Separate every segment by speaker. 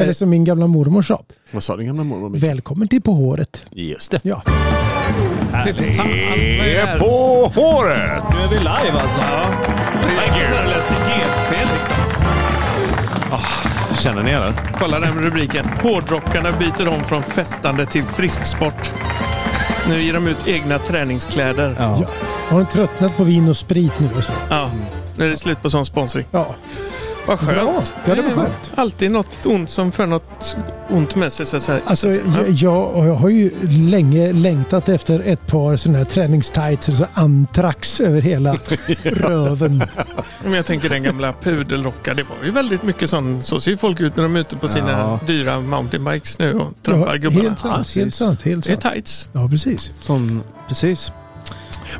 Speaker 1: Eh,
Speaker 2: Eller som min gamla mormor sa.
Speaker 3: Vad sa din gamla mormor? Micke?
Speaker 2: Välkommen till På håret.
Speaker 3: Just det.
Speaker 2: Ja.
Speaker 3: Det är på håret!
Speaker 1: Nu är vi live alltså. Ja. Det är som föreläste GP liksom.
Speaker 3: Känner ni er?
Speaker 1: Kolla den rubriken. Hårdrockarna byter om från festande till frisksport. Nu ger de ut egna träningskläder. Ja.
Speaker 2: ja. Har de tröttnat på vin och sprit nu och så?
Speaker 1: Nu är det slut på sån sponsring.
Speaker 2: Ja.
Speaker 1: Vad skönt.
Speaker 2: Bra. Ja, det var skönt.
Speaker 1: är alltid något ont som för något ont med sig. Så att säga.
Speaker 2: Alltså,
Speaker 1: så att säga.
Speaker 2: jag, jag, och jag har ju länge längtat efter ett par sådana här träningstights, så antrax över hela röven.
Speaker 1: Ja, Men jag tänker den gamla pudelrockar. Det var ju väldigt mycket sån. Så ser ju folk ut när de är ute på sina
Speaker 3: Ja.
Speaker 1: dyra mountainbikes nu och
Speaker 2: Ja,
Speaker 1: trampar gubbarna.
Speaker 2: Helt sant,
Speaker 3: precis.
Speaker 2: helt sant, helt
Speaker 1: Det är
Speaker 2: sant.
Speaker 1: tights.
Speaker 2: Ja, precis.
Speaker 3: Som, precis.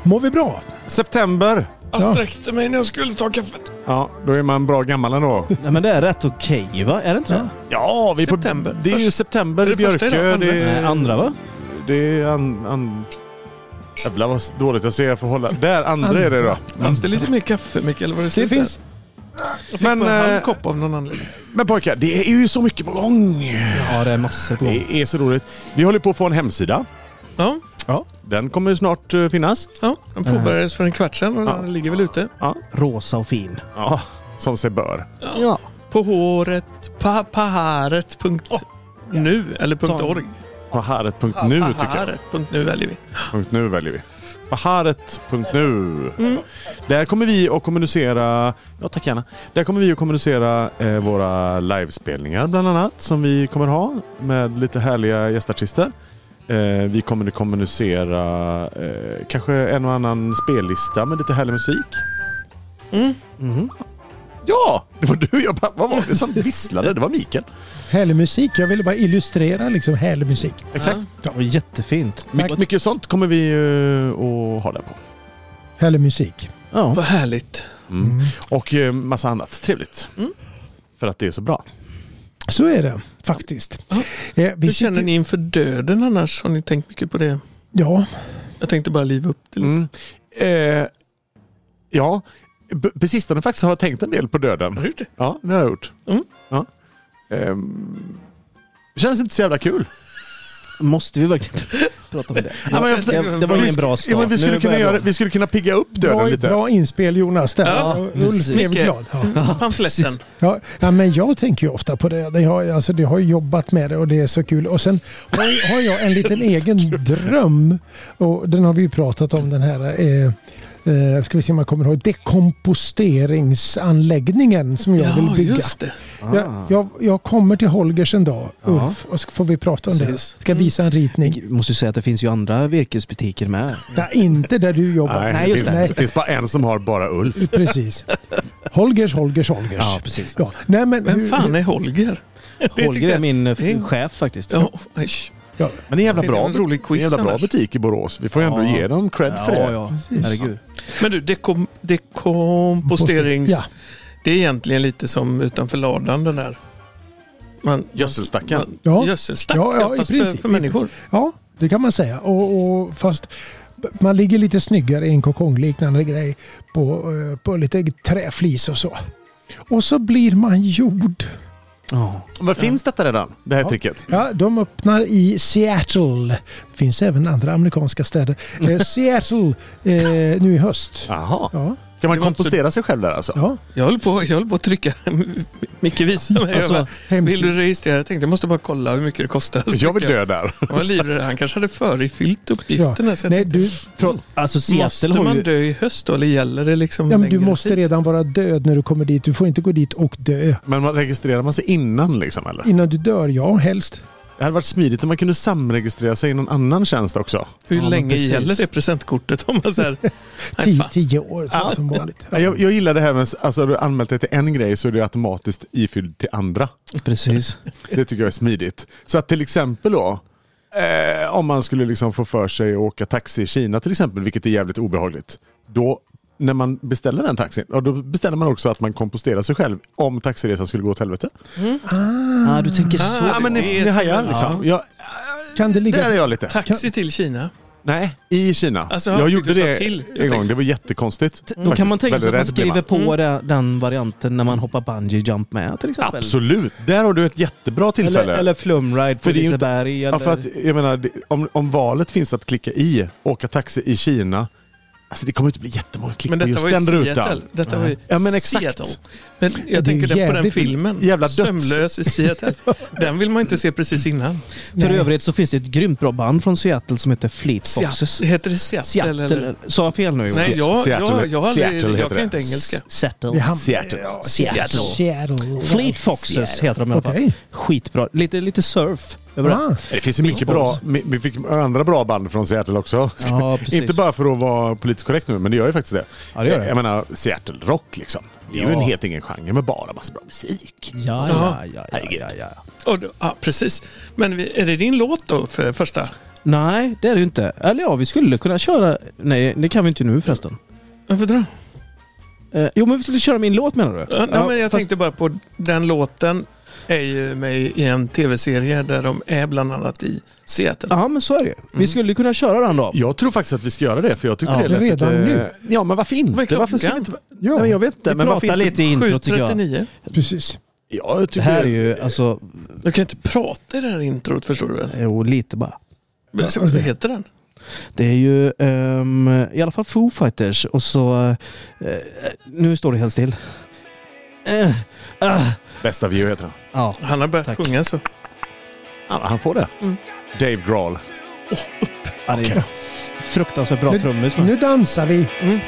Speaker 2: Mår vi bra?
Speaker 3: September.
Speaker 1: Jag
Speaker 2: Ja.
Speaker 1: sträckte mig när jag skulle ta kaffet.
Speaker 3: Ja, då är man bra gammal ändå.
Speaker 4: Nej men det är rätt okej va? Är det inte det?
Speaker 3: Ja, vi är
Speaker 1: September.
Speaker 3: På, det är ju
Speaker 1: Först-
Speaker 3: september
Speaker 1: är
Speaker 3: i
Speaker 1: det första
Speaker 3: Björkö.
Speaker 1: idag?
Speaker 3: Det,
Speaker 4: Nej,
Speaker 3: är-
Speaker 4: andra va?
Speaker 3: det är... An, an, jävlar vad dåligt jag ser. Jag får hålla. Där, andra är det då.
Speaker 1: Fanns det lite mer kaffe Mikael? Var det,
Speaker 2: Det
Speaker 1: slut där?
Speaker 2: finns.
Speaker 1: Jag fick
Speaker 3: Men,
Speaker 1: men, bara en
Speaker 3: eh,
Speaker 1: halv kopp av någon anledning.
Speaker 3: Men pojkar, det är ju så mycket på gång.
Speaker 4: Ja det är massor på gång.
Speaker 3: Det är så roligt. Vi håller på att få en hemsida.
Speaker 1: Ja,
Speaker 3: Den kommer snart eh, finnas.
Speaker 1: ja, den påbörjades för en kvart sedan och den
Speaker 3: Ja.
Speaker 1: ligger väl ute.
Speaker 4: Rosa och fin.
Speaker 3: Ja, Ah, som sig bör.
Speaker 4: Ja.
Speaker 1: På håret, pa, paharet. Punkt nu eller punkt
Speaker 4: Ta-
Speaker 1: org.
Speaker 3: På haret.nu tycker jag.
Speaker 1: Paharet. Punkt nu väljer vi.
Speaker 3: Punkt nu väljer vi. Baharet.nu.
Speaker 1: Mm,
Speaker 3: Där kommer vi att kommunicera, ja tack gärna. Där kommer vi att kommunicera eh, våra livespelningar bland annat som vi kommer ha med lite härliga gästartister. Eh, vi kommer att kommunicera eh, kanske en och annan spellista med lite härlig musik.
Speaker 1: Mm.
Speaker 4: Mhm.
Speaker 3: Ja, det var du. Jag bara, vad var det som visslade? Det var Mikael.
Speaker 2: Härlig musik. Jag ville bara illustrera liksom härlig musik.
Speaker 3: Exakt.
Speaker 4: Det var jättefint.
Speaker 3: My- mycket sånt kommer vi eh, att ha där på.
Speaker 2: Härlig musik.
Speaker 4: Ja.
Speaker 1: Vad härligt.
Speaker 3: Mm. Och eh, massa annat trevligt.
Speaker 1: Mm.
Speaker 3: För att det är så bra.
Speaker 2: Så är det faktiskt.
Speaker 1: Ja.
Speaker 2: Eh, vi
Speaker 1: Hur
Speaker 2: sitter-
Speaker 1: känner ni inför döden annars? Har ni tänkt mycket på det?
Speaker 2: Ja,
Speaker 1: Jag tänkte bara liva upp det lite.
Speaker 3: Mm. Eh, ja, B- på sistone faktiskt har jag tänkt en del på döden.
Speaker 1: Har du det?
Speaker 3: Ja, det har jag gjort.
Speaker 1: Mm.
Speaker 3: Ja. Ehm, det känns inte så jävla kul.
Speaker 4: Måste vi verkligen prata om det?
Speaker 3: Ja, men jag-
Speaker 4: det- det var ingen bra start.
Speaker 3: Ja, men vi,
Speaker 4: Nu
Speaker 3: skulle kunna
Speaker 4: börjar
Speaker 3: göra,
Speaker 4: de-
Speaker 3: vi skulle kunna pigga upp döden
Speaker 2: bra,
Speaker 3: lite.
Speaker 2: bra inspel Jonas. Där.
Speaker 1: Ja,
Speaker 2: Ulf
Speaker 4: precis.
Speaker 2: blev
Speaker 1: Micke.
Speaker 2: glad. Ja.
Speaker 1: Pamfletten.
Speaker 4: precis.
Speaker 2: Ja, ja, men jag tänker ju ofta på det. Det har, alltså, det har ju jobbat med det och det är så kul. Och sen har, har jag en liten egen dröm. Och den har vi ju pratat om den här. Eh, eh, ska vi se om jag kommer ihåg. Dekomposteringsanläggningen som jag
Speaker 1: Ja,
Speaker 2: vill bygga.
Speaker 1: just det.
Speaker 4: Ah.
Speaker 2: Jag, jag, jag kommer till Holgers en dag, Ulf, och så får vi prata om
Speaker 4: Precis. Mm.
Speaker 2: det. Ska visa en ritning.
Speaker 4: Jag måste ju säga att det finns ju andra virkesbutiker med.
Speaker 2: Nej, inte där du jobbar.
Speaker 3: Nej,
Speaker 4: Nej, just
Speaker 3: det,
Speaker 2: det.
Speaker 3: finns, det finns bara en som har bara Ulf.
Speaker 2: Precis. Holgers, Holgers, Holgers.
Speaker 4: Ja, precis.
Speaker 2: Ja. Nej, men, hur-
Speaker 1: Vem fan är Holger? Det tyckte
Speaker 4: Holger är
Speaker 1: jag-
Speaker 4: min eh,
Speaker 1: är-
Speaker 4: chef faktiskt.
Speaker 1: Ja, äsch.
Speaker 2: Ja,
Speaker 3: Men det är en jävla
Speaker 1: Det är
Speaker 3: bra,
Speaker 1: en rolig
Speaker 3: det är en jävla
Speaker 1: quiz
Speaker 3: bra
Speaker 1: annars.
Speaker 3: butik i Borås. Vi får ju ändå
Speaker 4: Ja.
Speaker 3: ge dem cred för det.
Speaker 4: Ja, ja.
Speaker 2: Precis.
Speaker 4: Herregud.
Speaker 1: Men du, dekom, dekomposterings...
Speaker 2: Ja.
Speaker 1: Det är egentligen lite som utanför ladan den där. Man,
Speaker 3: Gödselstacken.
Speaker 1: man-
Speaker 2: Ja.
Speaker 1: Gödselstack,
Speaker 2: Ja, ja, i
Speaker 1: fast för,
Speaker 2: princip.
Speaker 1: för människor.
Speaker 2: ja, det kan man säga. Och, och fast man ligger lite snyggare i en kokongliknande grej på, eh, på lite träflis och så. Och så blir man jord.
Speaker 4: Ja.
Speaker 3: Men finns detta redan? Det här tricket?
Speaker 2: Ja, de öppnar i Seattle. Det finns även andra amerikanska städer. Eh, Seattle eh, nu i höst.
Speaker 3: Jaha.
Speaker 2: Ja,
Speaker 3: Kan man
Speaker 1: Det var inte så-
Speaker 3: kompostera sig själv där alltså?
Speaker 2: ja.
Speaker 1: Jag höll på, jag höll på att trycka. Micke visade mig.
Speaker 4: Alltså,
Speaker 1: jag bara, vill
Speaker 2: hemsida.
Speaker 1: du registrera? Jag tänkte jag måste bara kolla hur mycket det kostar. Så
Speaker 3: Jag vill
Speaker 1: tryckte
Speaker 3: dö där.
Speaker 1: Jag var livrädd. Han kanske hade förifyllt
Speaker 2: Ja.
Speaker 1: uppgifterna. Så jag
Speaker 2: Nej,
Speaker 1: tänkte,
Speaker 2: du,
Speaker 4: Från, alltså Seattle
Speaker 1: måste
Speaker 4: har
Speaker 1: man
Speaker 4: ju...
Speaker 1: dö i höst då, eller gäller det liksom
Speaker 2: ja, men du
Speaker 1: längre
Speaker 2: måste
Speaker 1: tid?
Speaker 2: redan vara död när du kommer dit. Du får inte gå dit och dö.
Speaker 3: Men man registrerar man sig innan liksom eller?
Speaker 2: Innan du dör, ja helst.
Speaker 3: Det hade varit smidigt om man kunde samregistrera sig i någon annan tjänst också.
Speaker 1: Hur
Speaker 4: Ja, men
Speaker 1: länge
Speaker 4: precis.
Speaker 1: gäller det presentkortet? Om man så här, nej,
Speaker 2: Tio,
Speaker 1: fan.
Speaker 2: tio år tror jag,
Speaker 3: Ja.
Speaker 2: som vanligt.
Speaker 3: Ja, Jag, jag gillar det här med alltså, har du anmält dig till en grej så är du automatiskt ifylld till andra.
Speaker 4: Precis.
Speaker 3: Det tycker jag är smidigt. Så att till exempel då, eh, om man skulle liksom få för sig att åka taxi i Kina till exempel, vilket är jävligt obehagligt. Då, när man beställer den taxin, ja, då beställer man också att man komposterar sig själv om taxiresan skulle gå åt helvete.
Speaker 4: Ah, du tänker så.
Speaker 3: Ja, men ni,
Speaker 1: det är
Speaker 3: ni
Speaker 1: som
Speaker 3: hajar
Speaker 1: en-
Speaker 3: liksom. Ja.
Speaker 2: Kan det ligga-
Speaker 3: Där är jag lite.
Speaker 1: Taxi till Kina.
Speaker 3: Nej, i Kina.
Speaker 1: Alltså, jag
Speaker 3: jag gjorde
Speaker 1: tyckte du
Speaker 3: det
Speaker 1: sa till. Jag
Speaker 3: en gång.
Speaker 1: tänkte-
Speaker 3: Det var jättekonstigt.
Speaker 4: Då kan man tänka sig att man
Speaker 3: Faktiskt, väldigt rädd
Speaker 4: skriver på det, den varianten när man hoppar bungee jump med till
Speaker 3: blev man.
Speaker 4: exempel.
Speaker 3: Absolut. Där har du ett jättebra tillfälle.
Speaker 4: Eller, eller flumride på
Speaker 3: För det är ju inte-
Speaker 4: Liseberg.
Speaker 3: Ja,
Speaker 4: Eller...
Speaker 3: för att, jag menar, det- om, om valet finns att klicka i, åka taxi i Kina. Alltså det kommer inte bli jättemånga klick
Speaker 1: Men
Speaker 3: på
Speaker 1: detta
Speaker 3: just
Speaker 1: var ju
Speaker 3: den
Speaker 1: Seattle.
Speaker 3: rutan.
Speaker 1: Detta var ju
Speaker 3: Ja, men exakt.
Speaker 1: Seattle. Men jag
Speaker 2: är
Speaker 1: tänker den på den
Speaker 2: jävligt-
Speaker 1: filmen.
Speaker 3: jävla döds-
Speaker 1: Sömnlös i Seattle. Den vill man inte se precis innan.
Speaker 4: För
Speaker 2: Nej.
Speaker 4: övrigt så finns det ett grymt bra band från Seattle som heter Fleet Foxes.
Speaker 1: Seattle. Heter det Seattle?
Speaker 4: Seattle.
Speaker 1: Eller?
Speaker 4: Sa jag fel nu? Johan?
Speaker 1: Nej, jag,
Speaker 3: Seattle.
Speaker 1: jag, jag, har aldrig-
Speaker 3: Seattle heter
Speaker 1: jag kan
Speaker 3: det.
Speaker 1: inte engelska.
Speaker 4: Seattle.
Speaker 2: Vi ham-
Speaker 3: Seattle.
Speaker 2: Ja,
Speaker 4: Seattle.
Speaker 2: Seattle.
Speaker 4: Fleet Foxes heter de i alla fall.
Speaker 2: Okej.
Speaker 4: Skitbra. Lite, lite surf överallt.
Speaker 2: Ah,
Speaker 3: Det finns ju mycket bra, mi- vi fick andra bra band från Seattle också.
Speaker 4: Ja, precis.
Speaker 3: Inte bara för att vara politiskt korrekt nu, men det gör ju faktiskt det.
Speaker 4: Ja, det gör det.
Speaker 3: Jag menar, Seattle Rock liksom. Det är ju
Speaker 4: Ja.
Speaker 3: en helt egen genre med bara massa bra musik.
Speaker 4: Ja, ja, ja, ja, ja, ja.
Speaker 1: Och då, ja, precis. Men vi- är det din låt då för första?
Speaker 4: Nej, det är det ju inte. Eller ja, vi skulle kunna köra... Nej, det kan vi inte nu förresten.
Speaker 1: Varför då?
Speaker 4: Eh, jo, men vi skulle köra min låt menar du?
Speaker 1: Ja, nej, men jag
Speaker 4: fast-
Speaker 1: tänkte bara på den låten är ju med i en tv-serie där de är bland annat i Seattle.
Speaker 4: Ja, men så är det ju. Vi skulle kunna köra den då.
Speaker 3: Jag tror faktiskt att vi ska göra det, för jag tyckte
Speaker 4: Ja.
Speaker 3: det lät
Speaker 2: Redan
Speaker 3: lite...
Speaker 2: nu?
Speaker 3: Ja, men varför
Speaker 1: Vad är
Speaker 3: inte?
Speaker 1: klockan?
Speaker 3: Varför ska vi inte...
Speaker 2: ja,
Speaker 3: Nej, men jag vet inte.
Speaker 4: Vi
Speaker 3: Men varför
Speaker 4: pratar
Speaker 3: inte?
Speaker 4: lite i introt tycker jag.
Speaker 1: 7.39.
Speaker 2: precis.
Speaker 3: Ja, jag
Speaker 4: Det
Speaker 3: tycker
Speaker 4: här är ju alltså...
Speaker 1: Du kan inte prata i det här introt förstår du väl?
Speaker 4: Jo, lite bara.
Speaker 1: Men, så,
Speaker 2: okej.
Speaker 1: Vad heter den?
Speaker 4: Det är ju ehm, i alla fall Foo Fighters och så... eh, nu står det helt still. Eh, ah,
Speaker 3: Best of you heter han.
Speaker 4: ja.
Speaker 1: Han har börjat
Speaker 4: Tack.
Speaker 1: sjunga så.
Speaker 3: Ja, han får det.
Speaker 1: Mm.
Speaker 3: Dave Grohl.
Speaker 4: ja, det är fruktansvärt bra trummis. men-
Speaker 2: Nu dansar vi.
Speaker 1: Mm.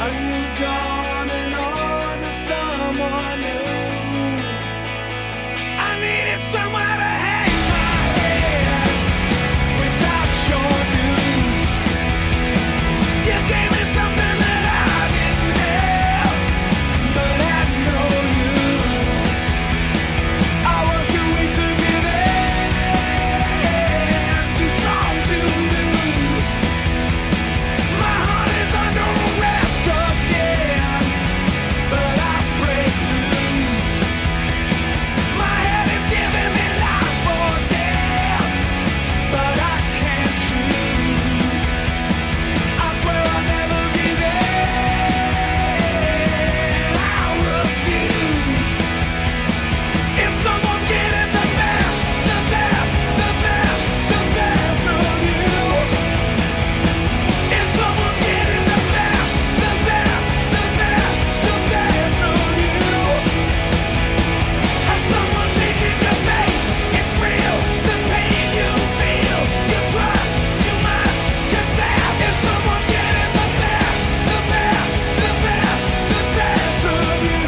Speaker 5: Are you gone and on to someone new? I needed somewhere to hang my head without your news. You gave me something that I didn't have, but had no use. I was too weak to give in, too strong to lose. My heart is under arrest again, but I break loose. My head is giving me life or death, but I can't choose. I swear I'll never give in. I refuse. Is someone getting the best, the best, the best, the best of you? Is someone getting the best, the best, the best, the best of you? Has someone taken your faith? It's real. The pain you feel, you trust, you must confess. Is someone getting the best, the best, the best, the best of you?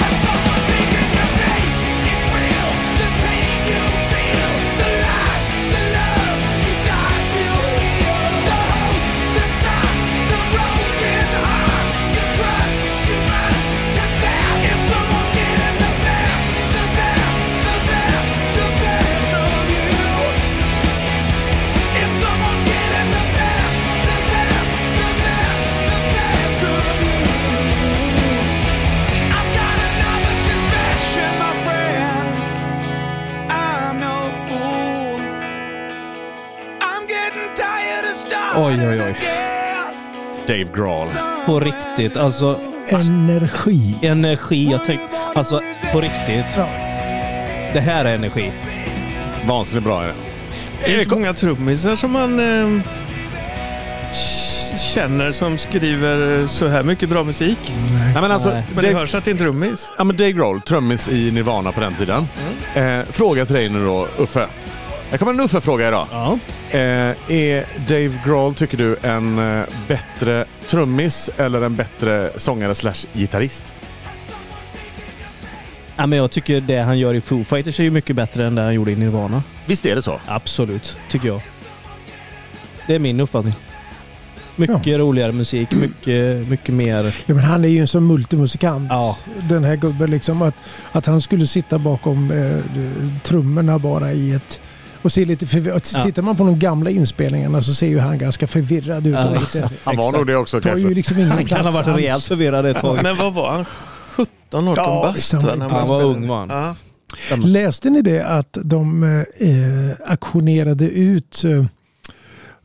Speaker 5: Has someone taken your faith? It's real. The pain you feel, the light, the love you died to heal, the hope that stops the broken hearts. You trust, you must confess. Is someone getting the best, the best, the best, the best of you? Is someone getting the best, the best, the best, the best of you? I've got another confession, my friend. I'm no fool. I'm getting tired of
Speaker 4: Oj,
Speaker 5: starting
Speaker 4: oj, oj.
Speaker 5: again.
Speaker 3: Dave Grohl.
Speaker 4: På riktigt, alltså
Speaker 2: Energi.
Speaker 4: energi. Jag tänk, alltså på riktigt.
Speaker 2: Ja.
Speaker 4: Det här är energi.
Speaker 3: Vansinnigt bra är det.
Speaker 1: Är det många trummisar som man eh, ehm, känner som skriver så här mycket bra musik.
Speaker 3: Nej, men alltså,
Speaker 4: Nej.
Speaker 1: Men det
Speaker 3: Dave,
Speaker 1: hörs att det är en trummis.
Speaker 3: ja, men Dave Grohl, trummis i Nirvana på den tiden. Eh, fråga till dig nu då, Uffe. Här kommer en Uffe-fråga idag.
Speaker 4: Ja.
Speaker 3: Eh, är Dave Grohl, tycker du, en eh, bättre trummis eller en bättre sångare slash gitarrist?
Speaker 4: ja, men jag tycker det han gör i Foo Fighters är ju mycket bättre än det han gjorde i Nirvana.
Speaker 3: Visst är det så?
Speaker 4: Absolut, tycker jag. Det är min uppfattning. Mycket roligare musik, mycket, mycket mer...
Speaker 2: Ja, men han är ju en sån multimusikant.
Speaker 4: Ja.
Speaker 2: Den här gubben liksom. Att, att han skulle sitta bakom eh, trummorna bara i ett... Och se lite förvirrad.
Speaker 4: Ja.
Speaker 2: Tittar man på de gamla inspelningarna så ser ju han ganska förvirrad ut.
Speaker 4: Ja,
Speaker 2: och lite,
Speaker 4: Äh, exakt.
Speaker 3: Han var nog det också
Speaker 2: tar
Speaker 3: kanske.
Speaker 2: ju liksom ingen
Speaker 4: Han kan ha
Speaker 2: plats
Speaker 4: varit
Speaker 2: alls.
Speaker 4: rejält förvirrad ett tag.
Speaker 1: Men vad var han? 17, 18
Speaker 2: Ja,
Speaker 1: bast?
Speaker 2: liksom.
Speaker 1: va, när
Speaker 4: Han var
Speaker 1: spelade?
Speaker 4: ung, var han.
Speaker 1: Ja.
Speaker 2: Läste ni det att de eh, auktionerade ut eh,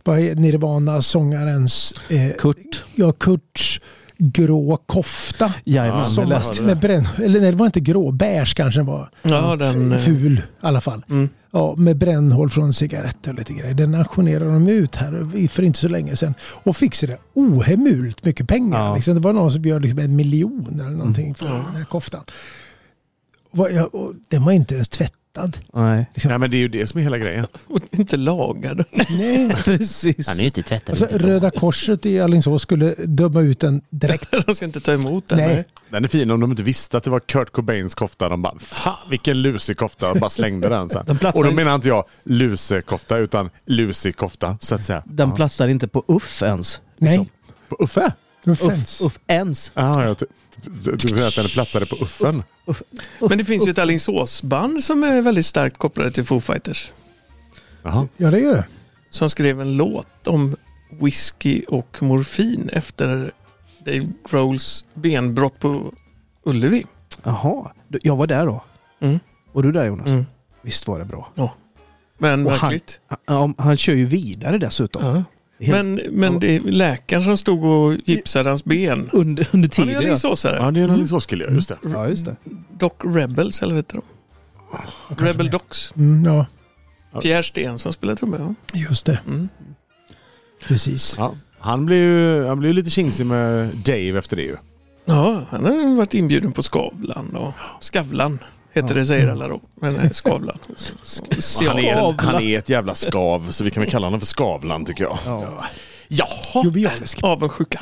Speaker 2: vad är Nirvana sångarens eh,
Speaker 4: Kurt.
Speaker 2: ja, Kurts grå kofta?
Speaker 4: Jajamän.
Speaker 3: Ja,
Speaker 2: Som
Speaker 4: det
Speaker 2: var,
Speaker 4: läste
Speaker 2: med bränn, eller nej, det var inte grå, beige kanske den var.
Speaker 1: Ja, den, eh,
Speaker 2: Ful i alla fall.
Speaker 1: Mm.
Speaker 2: Ja, med brännhål från cigaretter och lite grejer. Den auktionerade de ut här för inte så länge sedan. Och fick så där ohemult mycket pengar.
Speaker 4: Ja.
Speaker 2: Liksom, det var någon som bjöd liksom en miljon eller någonting för den här koftan. Vad jag- och Den var inte ens tvättad.
Speaker 4: Nej.
Speaker 3: Nej, men det är ju det som är hela grejen.
Speaker 1: eh, Och inte lagad.
Speaker 2: Nej.
Speaker 4: Precis.
Speaker 6: Han är ju inte tvättad.
Speaker 2: Alltså,
Speaker 6: inte på.
Speaker 2: Röda Korset i Alingsås skulle döma ut den direkt.
Speaker 1: De ska inte ta emot den.
Speaker 2: Nej.
Speaker 1: nej.
Speaker 3: Den är fin om de inte visste att det var Kurt Cobains kofta. De bara, fan vilken lusig kofta. De bara slängde den sen.
Speaker 4: Den platsar
Speaker 3: Och då
Speaker 4: i-
Speaker 3: menar inte jag lusekofta, utan lusig kofta, så att säga.
Speaker 4: Den platsar inte på Uff ens.
Speaker 2: Nej,
Speaker 3: På Uffe?
Speaker 2: offens.
Speaker 4: Uff, uff ens.
Speaker 3: Ah, jag ty- du du menar att den platsade på Uffen?
Speaker 1: Men det finns ju ett Alingsåsband som är väldigt starkt kopplade till Foo Fighters.
Speaker 3: Jaha.
Speaker 2: Ja, det gör det.
Speaker 1: Som skrev en låt om whisky och morfin efter Dave Grohls benbrott på Ullevi.
Speaker 4: Jaha. Du, Jag var där då.
Speaker 1: Mm.
Speaker 4: Var du där Jonas?
Speaker 1: Mm.
Speaker 4: Visst var det bra.
Speaker 1: Men
Speaker 4: Och han-
Speaker 1: verkligt.
Speaker 4: Han, ja, han kör ju vidare dessutom.
Speaker 1: Ja.
Speaker 4: Helt-
Speaker 1: Men, men det är läkaren som stod och gipsade hans ben.
Speaker 4: Under, under
Speaker 1: Han är
Speaker 4: tiden. ja. liksom-
Speaker 1: alingsåsare.
Speaker 3: Ja, det är en Alingsåskille, ja, just det.
Speaker 4: Ja, just det.
Speaker 1: Doc Rebels, eller vad heter de? Rebel Docs.
Speaker 2: Mm, ja,
Speaker 1: Pierre Sten som spelar trummor. Ja.
Speaker 2: just det.
Speaker 1: Mm.
Speaker 2: Precis.
Speaker 3: Ja. Han blev ju han blev ju lite kinsig med Dave efter det ju.
Speaker 1: ja, han har ju varit inbjuden på Skavlan och Skavlan. Heter det säger alla då. Men nej, Skavlan.
Speaker 3: Han är, han
Speaker 1: Skavlan.
Speaker 3: är ett jävla skav, så vi kan väl kalla honom för Skavlan tycker jag.
Speaker 4: Ja.
Speaker 3: Jaha!
Speaker 2: Jovialisk.
Speaker 1: Avundsjuka.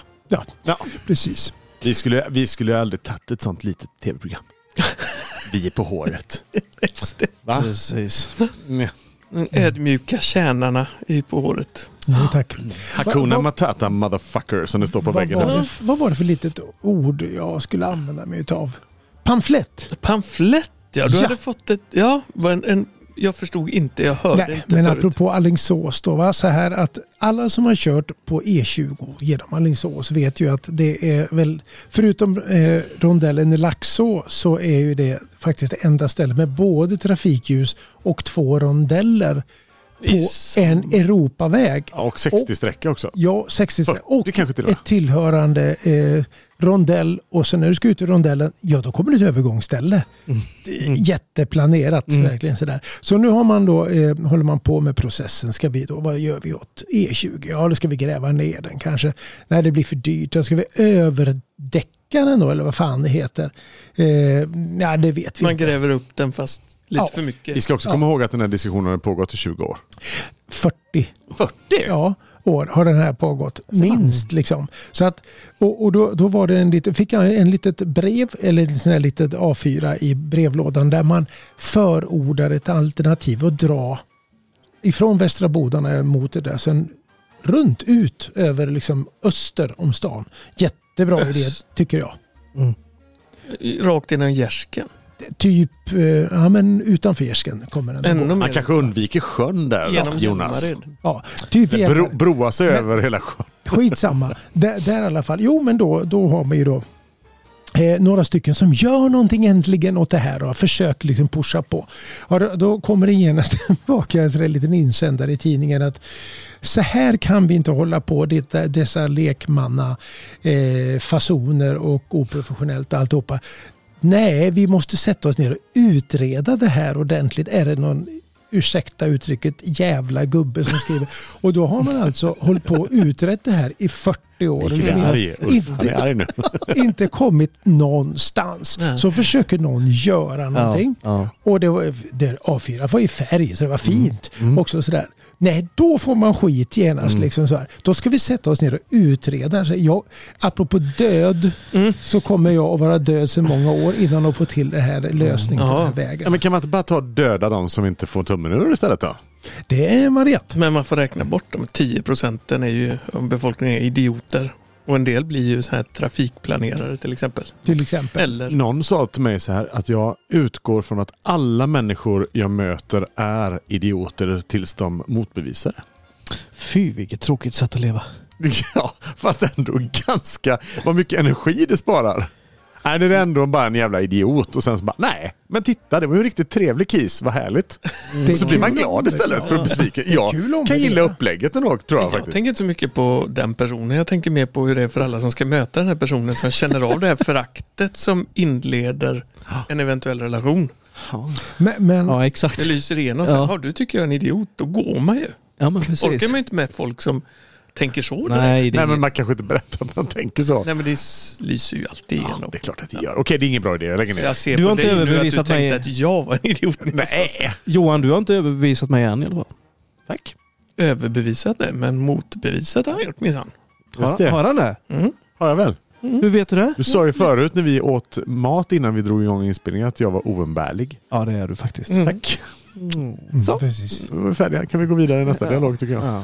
Speaker 3: Ja.
Speaker 2: Precis.
Speaker 3: Vi skulle, vi skulle ju aldrig tagit ett sånt litet tv-program. Vi är på håret. Va?
Speaker 4: Precis.
Speaker 3: Nej.
Speaker 1: Den ödmjuka kärnarna i på håret.
Speaker 2: Jo, Mm, tack.
Speaker 3: Hakuna
Speaker 2: Va- va-
Speaker 3: Matata motherfucker som det står på
Speaker 2: Vad
Speaker 3: väggen
Speaker 2: var,
Speaker 3: där.
Speaker 2: det, vad var det för litet ord jag skulle använda mig utav? Pamflett.
Speaker 1: Pamflett, ja. Du
Speaker 2: Ja.
Speaker 1: hade fått ett... Ja, var en, en, jag förstod inte. Jag hörde
Speaker 2: Nej,
Speaker 1: inte
Speaker 2: men
Speaker 1: förut.
Speaker 2: apropå Alingsås då, va? så här att alla som har kört på E E20 genom Alingsås vet ju att det är väl, förutom eh, rondellen i Laxå så är ju det faktiskt det enda stället med både trafikljus och två rondeller på
Speaker 1: I
Speaker 2: en Europaväg.
Speaker 3: Ja, Och 60-sträcka också.
Speaker 2: Ja, 60
Speaker 3: Fyrtio
Speaker 2: och
Speaker 3: kanske till och med.
Speaker 2: ett tillhörande eh, rondell och sen när du ska ut ur rondellen, ja då kommer det ett övergångsställe. Det är Jätteplanerat verkligen sådär. Så nu har man då, eh, håller man på med processen. Ska vi då, vad gör vi åt E20? Ja, då ska vi gräva ner den kanske. Nej, det blir för dyrt. Då ska vi överdäcka den då, eller vad fan det heter. Eh, nej, det vet vi
Speaker 1: Man
Speaker 2: inte.
Speaker 1: gräver upp den fast lite
Speaker 2: Ja.
Speaker 1: för mycket.
Speaker 3: Vi ska också komma ihåg att den här diskussionen har pågått i 20 år.
Speaker 2: 40
Speaker 3: 40?
Speaker 2: ja, år har den här pågått. Minst liksom. Så att, och och då, då var det en liten, fick jag en litet brev eller en sån här litet A4 i brevlådan där man förordar ett alternativ att dra ifrån Västra Bodarna mot det där. Sen runt ut över liksom öster om stan. Jättebra idé tycker jag.
Speaker 1: Rakt innan gärsken.
Speaker 2: Typ eh, ja, men utanför Gärsken kommer den. att gå.
Speaker 1: Ännu mer.
Speaker 3: Han kanske undviker sjön där,
Speaker 1: Genom
Speaker 3: Jonas.
Speaker 1: Hjälmared.
Speaker 2: Ja, typ
Speaker 3: Bro,
Speaker 2: Gällivare.
Speaker 3: broa sig över hela sjön.
Speaker 2: Skitsamma. där, där i alla fall. Jo, men då, då har man ju då eh, några stycken som gör någonting äntligen åt det här och har försökt liksom pusha på. Ja, då, då kommer det genast tillbaka en sån där liten insändare i tidningen att så här kan vi inte hålla på detta, dessa lekmanna eh, fasoner och oprofessionellt alltihopa. Nej, vi måste sätta oss ner och utreda det här ordentligt. Är det någon ursäkta uttrycket, jävla gubbe som skriver. Och då har man alltså hållit på och utrett det här i 40 år.
Speaker 3: Vilken är arg Ulf. Han är
Speaker 2: inte,
Speaker 3: arg nu.
Speaker 2: inte kommit någonstans.
Speaker 1: Nej.
Speaker 2: Så försöker någon göra någonting.
Speaker 4: Ja,
Speaker 2: Och det var, det, A4 var i färg så det var
Speaker 3: Mm.
Speaker 2: fint. Också sådär. Nej, då får man skit genast.
Speaker 3: Mm.
Speaker 2: Liksom så här. Då ska vi sätta oss ner och utreda. Så Jag, apropå död
Speaker 1: Mm.
Speaker 2: så kommer jag att vara död sedan många år innan de får till det här lösningen på
Speaker 1: Ja.
Speaker 2: den här
Speaker 3: Mm. Ja,
Speaker 2: vägen.
Speaker 3: men kan man inte bara ta och döda de som inte får tummen ur istället då?
Speaker 2: Det är Mariette.
Speaker 1: Men man får räkna bort de 10 procenten är ju, av befolkningen är idioter. Och en del blir ju så här trafikplanerare till exempel.
Speaker 2: till exempel.
Speaker 1: Eller
Speaker 3: Någon sa till mig så här att jag utgår från att alla människor jag möter är idioter tills de motbevisar det.
Speaker 4: Fy vilket tråkigt sätt att leva.
Speaker 3: Ja, fast ändå ganska... Vad mycket energi det sparar. Nej, det är ändå bara en jävla idiot och sen så bara nej, men titta det var ju en riktigt trevlig kis, vad härligt.
Speaker 2: Det är
Speaker 3: Mm. Så blir man
Speaker 2: kul.
Speaker 3: glad istället för att besviken. Jag
Speaker 2: kul om
Speaker 3: kan
Speaker 2: Mm. det.
Speaker 3: gilla upplägget ändå tror jag
Speaker 1: jag
Speaker 3: faktiskt.
Speaker 1: tänker inte så mycket på den personen. Jag tänker mer på hur det är för alla som ska möta den här personen som känner av det här föraktet som inleder en eventuell relation.
Speaker 2: Men, men
Speaker 4: Ja, exakt.
Speaker 1: Det lyser igenom. Ja.
Speaker 4: Ja.
Speaker 1: Ja, du tycker jag är en idiot. Då går man ju.
Speaker 4: Ja, men
Speaker 1: Orkar
Speaker 4: precis.
Speaker 1: man ju inte med folk som tänker så. direkt.
Speaker 4: Nej, det
Speaker 3: Nej,
Speaker 4: är
Speaker 3: men man kanske inte berättar att man tänker så.
Speaker 1: Nej men det s- lyser ju alltid
Speaker 3: Ja,
Speaker 1: igenom.
Speaker 3: det är klart att det gör. Okej, det är ingen bra idé. Jag lägger ner.
Speaker 1: Jag ser
Speaker 4: Du
Speaker 1: på
Speaker 4: har inte
Speaker 1: dig nu att du
Speaker 4: överbevisat mig.
Speaker 1: tänkte att jag var en idiot.
Speaker 3: Nej,
Speaker 4: Johan, du har inte överbevisat mig än i alla fall.
Speaker 3: tack.
Speaker 1: Överbevisat det, men motbevisat har han gjort minsann.
Speaker 3: Just
Speaker 4: Har,
Speaker 3: det.
Speaker 4: har han det?
Speaker 1: Mm.
Speaker 3: Har jag väl.
Speaker 4: Hur vet du det?
Speaker 3: Du sa ju förut när vi åt mat innan vi drog igång inspelningen att jag var oumbärlig.
Speaker 4: Ja, det är du faktiskt.
Speaker 3: Tack.
Speaker 2: Mm,
Speaker 3: Så.
Speaker 2: precis.
Speaker 3: Då är vi färdiga. Kan vi gå vidare i nästa
Speaker 4: Ja.
Speaker 3: dialog tycker jag.
Speaker 4: Ja.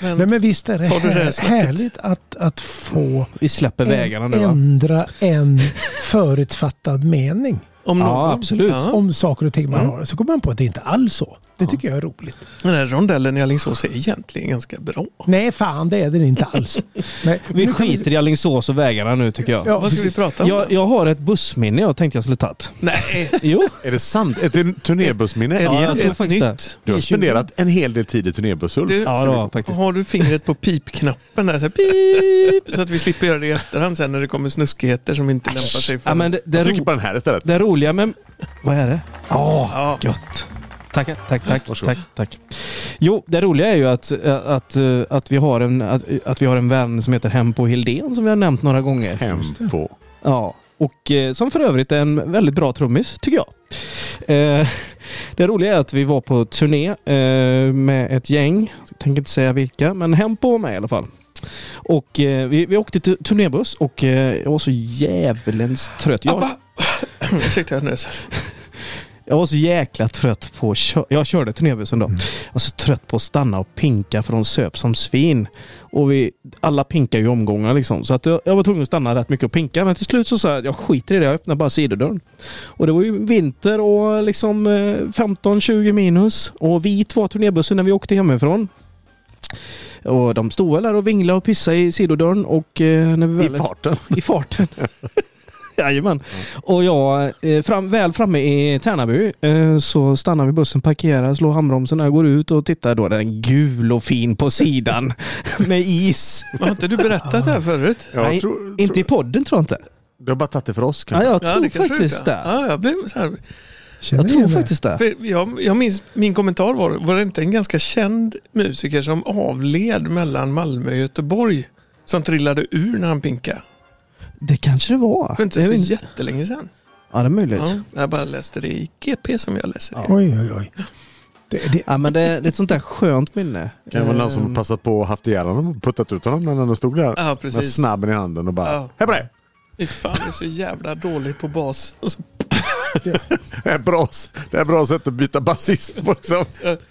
Speaker 1: Men,
Speaker 2: Nej, men visst är det,
Speaker 1: Tar du det här
Speaker 2: här,
Speaker 1: snacket?
Speaker 2: härligt att, att få
Speaker 4: Vi släpper vägarna nu va?
Speaker 2: ändra en förutfattad mening
Speaker 1: om
Speaker 4: Ja,
Speaker 1: någon,
Speaker 4: absolut.
Speaker 1: Ja.
Speaker 2: om saker och ting man
Speaker 1: Mm.
Speaker 2: har. Så kommer man på att det är inte alls så. Det tycker jag är roligt.
Speaker 1: Den här rondellen i Alingsås är egentligen ganska bra.
Speaker 2: Nej, fan det är det inte alls. Nej,
Speaker 4: Vi
Speaker 2: nu kan
Speaker 4: skiter i Alingsås och vägarna nu tycker jag.
Speaker 2: Ja,
Speaker 1: Vad ska vi
Speaker 2: precis.
Speaker 1: prata om? då?
Speaker 4: Jag, jag har ett bussminne jag tänkte jag skulle tagit.
Speaker 1: Nej,
Speaker 4: Jo,
Speaker 3: Är det sant? Ett turnébussminne?
Speaker 1: ett,
Speaker 4: jag
Speaker 3: igen?
Speaker 4: tror
Speaker 1: ett
Speaker 4: faktiskt
Speaker 1: nytt.
Speaker 3: Du har spenderat en hel del tid i turnébuss Ulf.
Speaker 1: Du-
Speaker 4: ja det var faktiskt.
Speaker 1: Har du fingret på pipknappen där så, här, pip, så att vi slipper göra det i efterhand sen när det kommer snuskigheter som inte lämpar sig för...
Speaker 4: Ja, men det, det,
Speaker 3: Jag trycker
Speaker 4: ro,
Speaker 3: på den här istället.
Speaker 4: det roliga med... Vad är det? Ja,
Speaker 1: ja,
Speaker 4: gött. Tack, tack, tack,
Speaker 3: Varsågod.
Speaker 4: tack, tack. Jo, det roliga är ju att, eh, att, att, vi har en, att, att vi har en vän som heter Hempo Hildén som vi har nämnt några gånger.
Speaker 3: Hem på.
Speaker 4: Ja, och eh, som för övrigt är en väldigt bra trummis, tycker jag. Eh, det roliga är att vi var på turné eh, med ett gäng, jag tänker inte säga vilka, men Hempo var med i alla fall. Och eh, vi, vi åkte tu- turnébuss och eh, jag var så djävulens trött. Jag,
Speaker 1: Abba! Ursäkta, jag nös.
Speaker 4: jag var så jäkla trött på... att kö- Jag körde turnébussen då. Jag var så trött på att stanna och pinka för de söp som svin. Och vi, alla pinkar ju i omgångar liksom. Så att jag, jag var tvungen att stanna rätt mycket och pinka. Men till slut så sa jag att jag skiter i det. Jag öppnar bara sidodörren. Och det var ju vinter och liksom eh, 15-20 minus. Och vit var turnébussen när vi åkte hemifrån. Och de stod väl där och vinglade och pissade i sidodörren. Och eh, när vi
Speaker 3: I
Speaker 4: väl
Speaker 3: farten.
Speaker 4: i farten. Jajamän. Och jag, eh, fram, väl framme i Tärnaby eh, så stannar vi bussen, parkerar, slår handbromsen, jag går ut och tittar. Då är den gul och fin på sidan med is.
Speaker 1: Har inte du berättat det här förut?
Speaker 3: Jag
Speaker 4: Nej,
Speaker 3: tror,
Speaker 4: Inte i
Speaker 3: tror,
Speaker 4: podden tror jag inte.
Speaker 3: du har bara tagit det för oss
Speaker 4: Ja,
Speaker 3: kanske?
Speaker 4: jag tror
Speaker 1: det kanske
Speaker 4: faktiskt
Speaker 1: du
Speaker 4: det.
Speaker 1: inte- Ja, jag blev så här.
Speaker 2: Känner
Speaker 4: Jag
Speaker 2: ni
Speaker 4: tror
Speaker 2: det?
Speaker 4: faktiskt det.
Speaker 1: För jag, jag minns, min kommentar var, var det inte en ganska känd musiker som avled mellan Malmö och Göteborg? Som trillade ur när han pinkade.
Speaker 4: Det kanske det var.
Speaker 1: För inte
Speaker 4: det
Speaker 1: så
Speaker 4: är ju-
Speaker 1: jättelänge sedan.
Speaker 4: ja, det är möjligt.
Speaker 1: Ja,
Speaker 4: Ja.
Speaker 1: jag bara läste det i GP som jag läser det.
Speaker 2: Oj, oj, oj. Det, det,
Speaker 4: men det, det är ett sånt där skönt minne.
Speaker 3: Kan det vara någon
Speaker 4: Ehm,
Speaker 3: som passat på och haft ihjäl honom och puttat ut honom när han ändå stod där?
Speaker 1: Ja,
Speaker 3: Med
Speaker 1: precis.
Speaker 3: snabben i handen och bara
Speaker 1: Ja.
Speaker 3: Hej på dig!
Speaker 1: Fy fan, du är så jävla dålig på bas. Alltså,
Speaker 3: Det är ett bra, det är ett bra sätt att byta basist på liksom.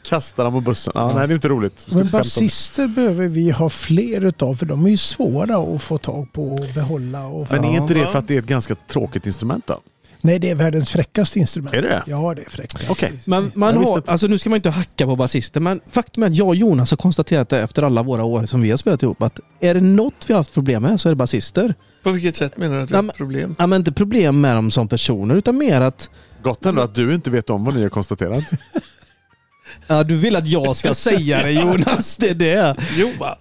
Speaker 3: Kasta dem på bussen. Ja, nej, det är inte roligt. Vi ska
Speaker 2: men
Speaker 3: inte skämta om det.
Speaker 2: basister behöver vi ha fler utav för de är ju svåra att få tag på och behålla. Och
Speaker 3: Men är inte det
Speaker 1: Ja.
Speaker 3: för att det är ett ganska tråkigt instrument då?
Speaker 2: Nej, det är världens fräckaste instrument.
Speaker 3: Är det det?
Speaker 2: Ja, det är fräckast.
Speaker 3: Okej.
Speaker 4: Men
Speaker 3: Jag
Speaker 4: man
Speaker 3: visste
Speaker 4: har,
Speaker 3: inte.
Speaker 4: alltså nu ska man inte hacka på basister, men faktum är att jag och Jonas har konstaterat det efter alla våra år som vi har spelat ihop, att är det något vi har haft problem med så är det basister.
Speaker 1: på vilket sätt menar du att vi
Speaker 4: Nej,
Speaker 1: har
Speaker 4: men-
Speaker 1: ett problem?
Speaker 4: Ja, men inte problem med dem som personer, utan mer att
Speaker 3: Gott ändå att du inte vet om vad ni har konstaterat.
Speaker 4: ja, du vill att jag ska säga det Jonas, det är det.
Speaker 1: Jo, va?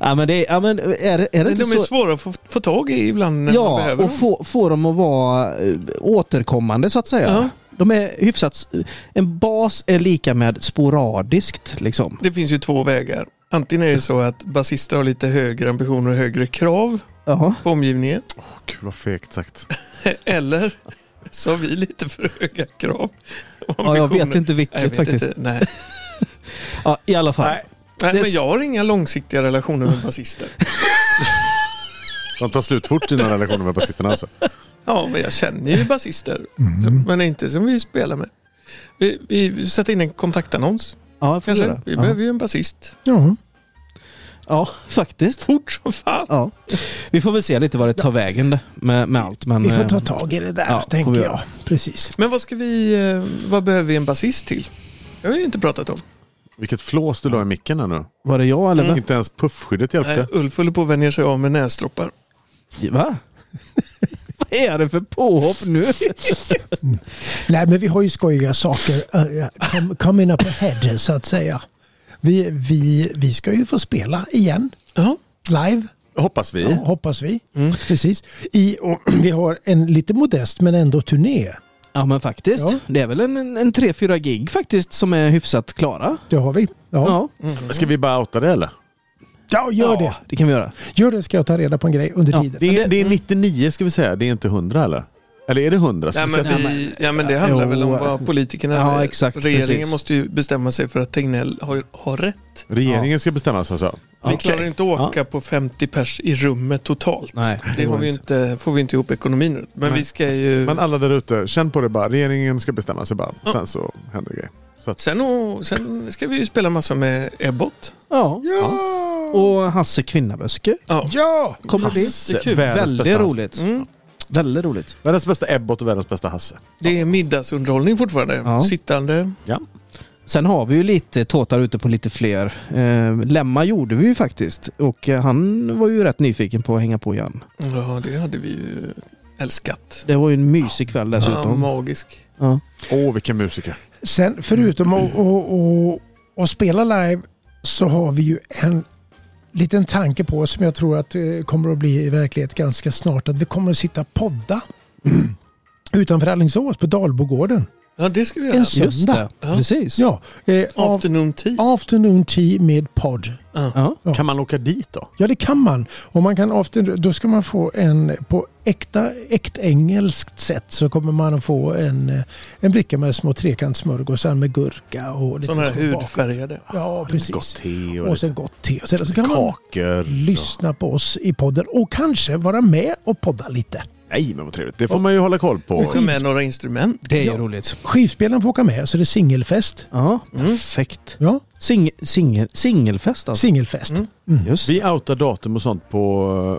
Speaker 4: Ja, men det är, ja, men är, det- är det
Speaker 1: Men
Speaker 4: inte
Speaker 1: de är
Speaker 4: så?
Speaker 1: svåra att få, få tag i ibland när man
Speaker 4: Ja,
Speaker 1: behöver
Speaker 4: och
Speaker 1: dem.
Speaker 4: få, få dem att vara eh, återkommande så att säga.
Speaker 1: Ja.
Speaker 4: De är hyfsat... En bas är lika med sporadiskt liksom.
Speaker 1: Det finns ju två vägar. Antingen är det så att basister har lite högre ambitioner och högre krav
Speaker 4: Ja.
Speaker 1: på omgivningen.
Speaker 3: Åh, Gud vad fegt sagt.
Speaker 1: Eller så har vi lite för höga krav. och
Speaker 4: ja jag
Speaker 1: ambitioner.
Speaker 4: vet inte vilket
Speaker 1: Nej, jag vet
Speaker 4: faktiskt.
Speaker 1: Inte. Nej.
Speaker 4: Ja, I alla fall.
Speaker 3: Nej,
Speaker 1: Nej,
Speaker 4: Det
Speaker 1: men
Speaker 4: är s-
Speaker 1: jag har inga långsiktiga relationer med basister.
Speaker 3: de tar slut fort dina relationer med basisterna alltså.
Speaker 1: Ja, men jag känner ju basister.
Speaker 4: Mm.
Speaker 1: Så, men inte som vi spelar med. Vi, vi sätter in en kontaktannons
Speaker 4: Ja, jag får
Speaker 1: kanske.
Speaker 4: göra.
Speaker 1: Vi
Speaker 4: Ja.
Speaker 1: behöver ju en basist.
Speaker 2: Ja.
Speaker 4: Ja, faktiskt.
Speaker 1: Fort som fan.
Speaker 4: Ja. Vi får väl se lite vad det tar vägen det- med, med allt. Men,
Speaker 2: Vi får
Speaker 4: eh,
Speaker 2: ta tag i det där,
Speaker 4: ja, får
Speaker 2: tänker
Speaker 4: vi
Speaker 2: jag.
Speaker 4: göra.
Speaker 2: Precis.
Speaker 1: Men vad ska vi, eh, vad behöver vi en basist till? Det har vi ju inte pratat om.
Speaker 3: Vilket flås du la i micken här nu.
Speaker 4: Var det jag eller?
Speaker 3: Inte ens puffskyddet hjälpte.
Speaker 1: Nej, Ulf håller på att vänja sig av med näsdroppar.
Speaker 4: Va? vad är det för påhopp nu?
Speaker 2: Nej, men vi har ju skojiga saker eh, com- coming up ahead, så att säga. Vi, vi, vi ska ju få spela igen,
Speaker 1: Ja,
Speaker 2: live,
Speaker 3: Hoppas vi.
Speaker 2: ja, hoppas vi. Precis. I, och vi har en lite modest men ändå turné.
Speaker 4: Ja men faktiskt.
Speaker 2: Ja.
Speaker 4: Det är väl en, en, en 3-4 gig faktiskt som är hyfsat klara.
Speaker 2: Det har vi. Ja, ja.
Speaker 4: Ja,
Speaker 3: Ska vi bara outa det eller?
Speaker 2: ja gör det.
Speaker 4: det kan vi göra.
Speaker 2: Gör det ska jag ta reda på en grej under
Speaker 4: Ja.
Speaker 2: tiden.
Speaker 3: Det är, det är 99 ska vi säga, det är inte 100 eller? Eller är det 100? Ska
Speaker 1: Nej,
Speaker 3: vi
Speaker 1: men,
Speaker 3: säga att det-
Speaker 1: vi, ja, men det handlar
Speaker 4: Jo.
Speaker 1: väl om vad politikerna
Speaker 4: Ja,
Speaker 1: säger.
Speaker 4: exakt,
Speaker 1: Regeringen
Speaker 4: precis.
Speaker 1: måste ju bestämma sig för att Tegnell har, har rätt.
Speaker 3: Regeringen ska bestämma sig alltså?
Speaker 1: Vi klarar inte att åka på 50 pers i rummet totalt.
Speaker 4: Nej,
Speaker 1: det
Speaker 4: det
Speaker 1: har
Speaker 4: går
Speaker 1: vi ju inte, får vi inte ihop ekonomin runt. Men
Speaker 3: Nej.
Speaker 1: vi ska ju...
Speaker 3: Men alla där ute, känn på det bara. Regeringen ska bestämma sig bara.
Speaker 1: Ja.
Speaker 3: Sen så händer det grejer. Så att,
Speaker 1: Sen, och, sen ska vi ju spela massa med Ebbot.
Speaker 4: Ja. Och Hasse Kvinnaböske
Speaker 1: Ja.
Speaker 2: Ja!
Speaker 4: kommer det bli.
Speaker 3: Hasse,
Speaker 1: Det är kul.
Speaker 3: världens
Speaker 4: Väldigt
Speaker 3: bästa Hasse.
Speaker 4: roligt.
Speaker 1: Mm.
Speaker 4: Väldigt roligt.
Speaker 3: Världens bästa Ebbot och världens bästa Hasse.
Speaker 1: Det är middagsunderhållning fortfarande.
Speaker 4: Ja.
Speaker 1: Sittande.
Speaker 4: Sen har vi ju lite tåtar ute på lite fler. Eh, Lemma gjorde vi ju faktiskt. Och eh, han var ju rätt nyfiken på att hänga på igen.
Speaker 1: Ja, det hade vi ju älskat.
Speaker 4: Det var ju en mysig kväll
Speaker 1: Ja,
Speaker 4: dessutom.
Speaker 1: magisk.
Speaker 4: Ja.
Speaker 3: Åh, vilken musiker.
Speaker 2: Sen förutom att, att, att, att spela live så har vi ju en liten tanke på som jag tror att eh, kommer att bli i verklighet ganska snart. Att vi kommer att sitta och podda utanför Alingsås på Dalbogården.
Speaker 1: Ja, det ska vi göra.
Speaker 2: En
Speaker 4: Just
Speaker 2: söndag.
Speaker 4: det,
Speaker 1: Ja.
Speaker 4: precis.
Speaker 2: Ja, eh, av,
Speaker 1: Afternoon tea.
Speaker 2: afternoon tea med podd.
Speaker 4: Ja.
Speaker 2: Ja.
Speaker 3: Kan man åka dit då?
Speaker 2: Ja det kan man. Och man kan after, då ska man få en på äkta, äkt engelskt sätt så kommer man att få en, eh, en bricka med små trekantssmörgåsar med gurka och lite
Speaker 1: Sådana här
Speaker 2: så bak.
Speaker 1: hudfärgade.
Speaker 2: Ja
Speaker 3: Gott
Speaker 2: precis.
Speaker 3: te och,
Speaker 2: Och
Speaker 3: lite
Speaker 2: sen gott te. Och sen så kan man
Speaker 3: kakor.
Speaker 2: lyssna på oss i podden och kanske vara med och podda lite.
Speaker 3: Nej, men vad trevligt. Det får man ju hålla koll på.
Speaker 1: Ta med några instrument.
Speaker 4: Det är ju
Speaker 2: Ja.
Speaker 4: roligt.
Speaker 2: Skivspelaren får åka med så det är singelfest.
Speaker 4: Ja,
Speaker 1: Mm.
Speaker 4: perfekt.
Speaker 2: Ja,
Speaker 4: Sing, singel, singelfest alltså.
Speaker 2: singelfest.
Speaker 1: Mm.
Speaker 4: Just
Speaker 3: Vi outar datum och sånt på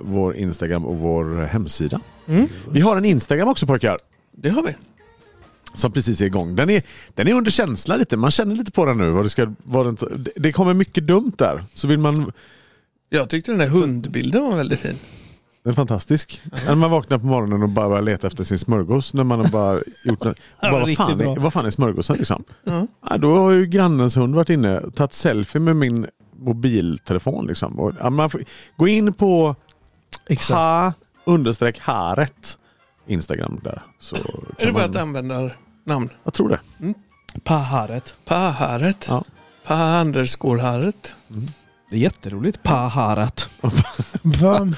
Speaker 3: eh, vår Instagram och vår eh, hemsida.
Speaker 1: Mm.
Speaker 3: Vi har en Instagram också pojkar.
Speaker 1: Det har vi.
Speaker 3: Som precis är igång. Den är, den är under känsla lite. Man känner lite på den nu. Vad det, ska, vad den, det- det kommer mycket dumt där. Så vill man...
Speaker 1: Jag tyckte den där hundbilden var väldigt fin.
Speaker 3: Den är fantastisk. När man vaknar på morgonen och bara börjar leta efter sin smörgås. När man har bara gjort något.
Speaker 4: Ja,
Speaker 3: Bara, vad,
Speaker 4: riktigt
Speaker 3: fan
Speaker 4: bra.
Speaker 3: är, vad fan är smörgåsen liksom?
Speaker 1: Ja.
Speaker 3: Ja, då har ju grannens hund varit inne och tagit selfie med min mobiltelefon. Liksom. Och, ja, man får, gå in på
Speaker 4: Exakt.
Speaker 3: ha understreck haret Instagram där. Så
Speaker 1: Är det bara ett
Speaker 3: man,
Speaker 1: användarnamn?
Speaker 3: jag tror det.
Speaker 4: Paharet.
Speaker 1: Paharet.
Speaker 3: Ja.
Speaker 1: Pa underscore haret.
Speaker 4: Det är jätteroligt. Paharet.
Speaker 2: Vad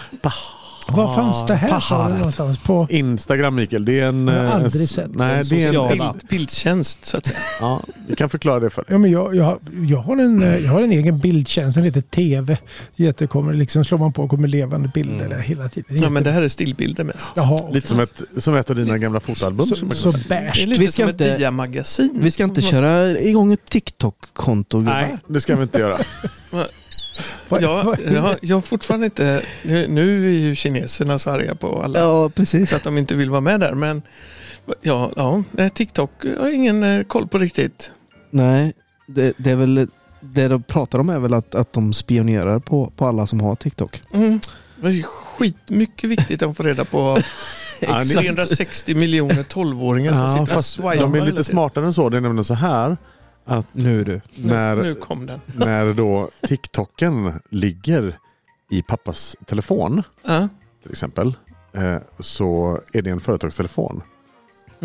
Speaker 2: vad fanns det här sa du
Speaker 4: Paharet.
Speaker 2: någonstans på?
Speaker 3: Instagram Mikael, det är en...
Speaker 2: Jag har
Speaker 3: eh,
Speaker 2: aldrig
Speaker 3: s-
Speaker 2: sett
Speaker 3: Nej,
Speaker 4: en
Speaker 3: det är en,
Speaker 4: social-
Speaker 3: en,
Speaker 4: Ja.
Speaker 1: Bild, bildtjänst så att säga.
Speaker 3: ja, Vi kan förklara det för dig.
Speaker 2: Ja, men jag, jag, jag, har en, eh, jag har en egen bildtjänst, den heter TV. Jättekommer, liksom slår man på kommer levande bilder där hela tiden.
Speaker 1: Ja, men det här är stillbilder mest.
Speaker 2: Jaha, okej.
Speaker 3: Lite som ett, som ett av dina gamla fotoalbum.
Speaker 2: så,
Speaker 3: skulle man
Speaker 2: så
Speaker 3: kunna säga.
Speaker 1: Det är
Speaker 2: beige.
Speaker 1: lite
Speaker 4: Vi ska
Speaker 1: som
Speaker 4: inte-
Speaker 1: ett diamagasin.
Speaker 4: Mm. Vi ska inte
Speaker 1: Måste-
Speaker 4: köra igång ett TikTok-konto. gubbar.
Speaker 3: Nej, det ska vi inte göra.
Speaker 2: Vad-
Speaker 1: Ja,
Speaker 2: vad-
Speaker 1: jag, jag har fortfarande inte... Nu, nu är ju kineserna så arga på alla.
Speaker 4: Ja, precis.
Speaker 1: Så att de inte vill vara med där. Men ja, ja nej, TikTok jag har ingen eh, koll på riktigt.
Speaker 4: Nej, det, det är väl... Det de pratar om är väl att, att de spionerar på, på alla som har TikTok.
Speaker 1: Mm. Det är skitmycket viktigt att få reda på
Speaker 3: Ja, det-
Speaker 1: 360 miljoner 12-åringar som
Speaker 3: Ja,
Speaker 1: sitter och
Speaker 3: fast
Speaker 1: swipar.
Speaker 3: de är
Speaker 1: hela
Speaker 3: lite
Speaker 1: tiden.
Speaker 3: smartare än så. Det är nämligen så här att
Speaker 4: Nu du.
Speaker 1: Nu, nu
Speaker 3: när,
Speaker 1: kom den.
Speaker 3: när då TikToken ligger i pappas telefon
Speaker 1: Ja.
Speaker 3: till exempel eh, så är det en företagstelefon.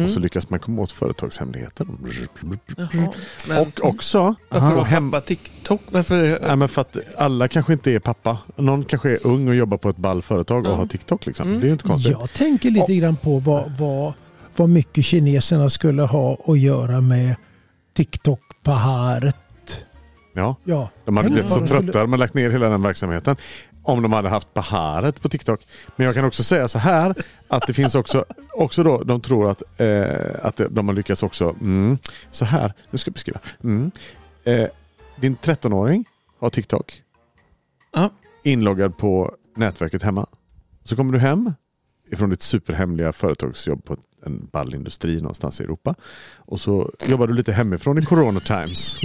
Speaker 3: Och så lyckas man komma åt företagshemligheter.
Speaker 1: Jaha. Mm. Men
Speaker 3: Och också...
Speaker 1: varför
Speaker 3: och
Speaker 1: har
Speaker 3: hem-
Speaker 1: pappa TikTok? Varför?
Speaker 3: Nej, men för att alla kanske inte är pappa. Någon kanske är ung och jobbar på ett ballföretag och
Speaker 1: Ja.
Speaker 3: har TikTok. Liksom.
Speaker 1: Mm.
Speaker 3: Det är ju inte konstigt.
Speaker 2: Jag tänker lite grann på vad, vad, vad mycket kineserna skulle ha att göra med TikTok på haret.
Speaker 3: Ja.
Speaker 2: Ja,
Speaker 3: De hade
Speaker 2: Tänk
Speaker 3: blivit
Speaker 2: vad
Speaker 3: så
Speaker 2: de skulle-
Speaker 3: trötta. De hade lagt ner hela den verksamheten. Om de hade haft Baharet på TikTok. Men jag kan också säga så här. Att det finns också, också då, de tror att, eh, att det- de har lyckats också. Mm, så här, nu ska jag beskriva. Mm, eh, din 13-åring har TikTok.
Speaker 1: Ja.
Speaker 3: Inloggad på nätverket hemma. Så kommer du hem ifrån ditt superhemliga företagsjobb på en ballindustri någonstans i Europa. Och så jobbar du lite hemifrån i Corona Times.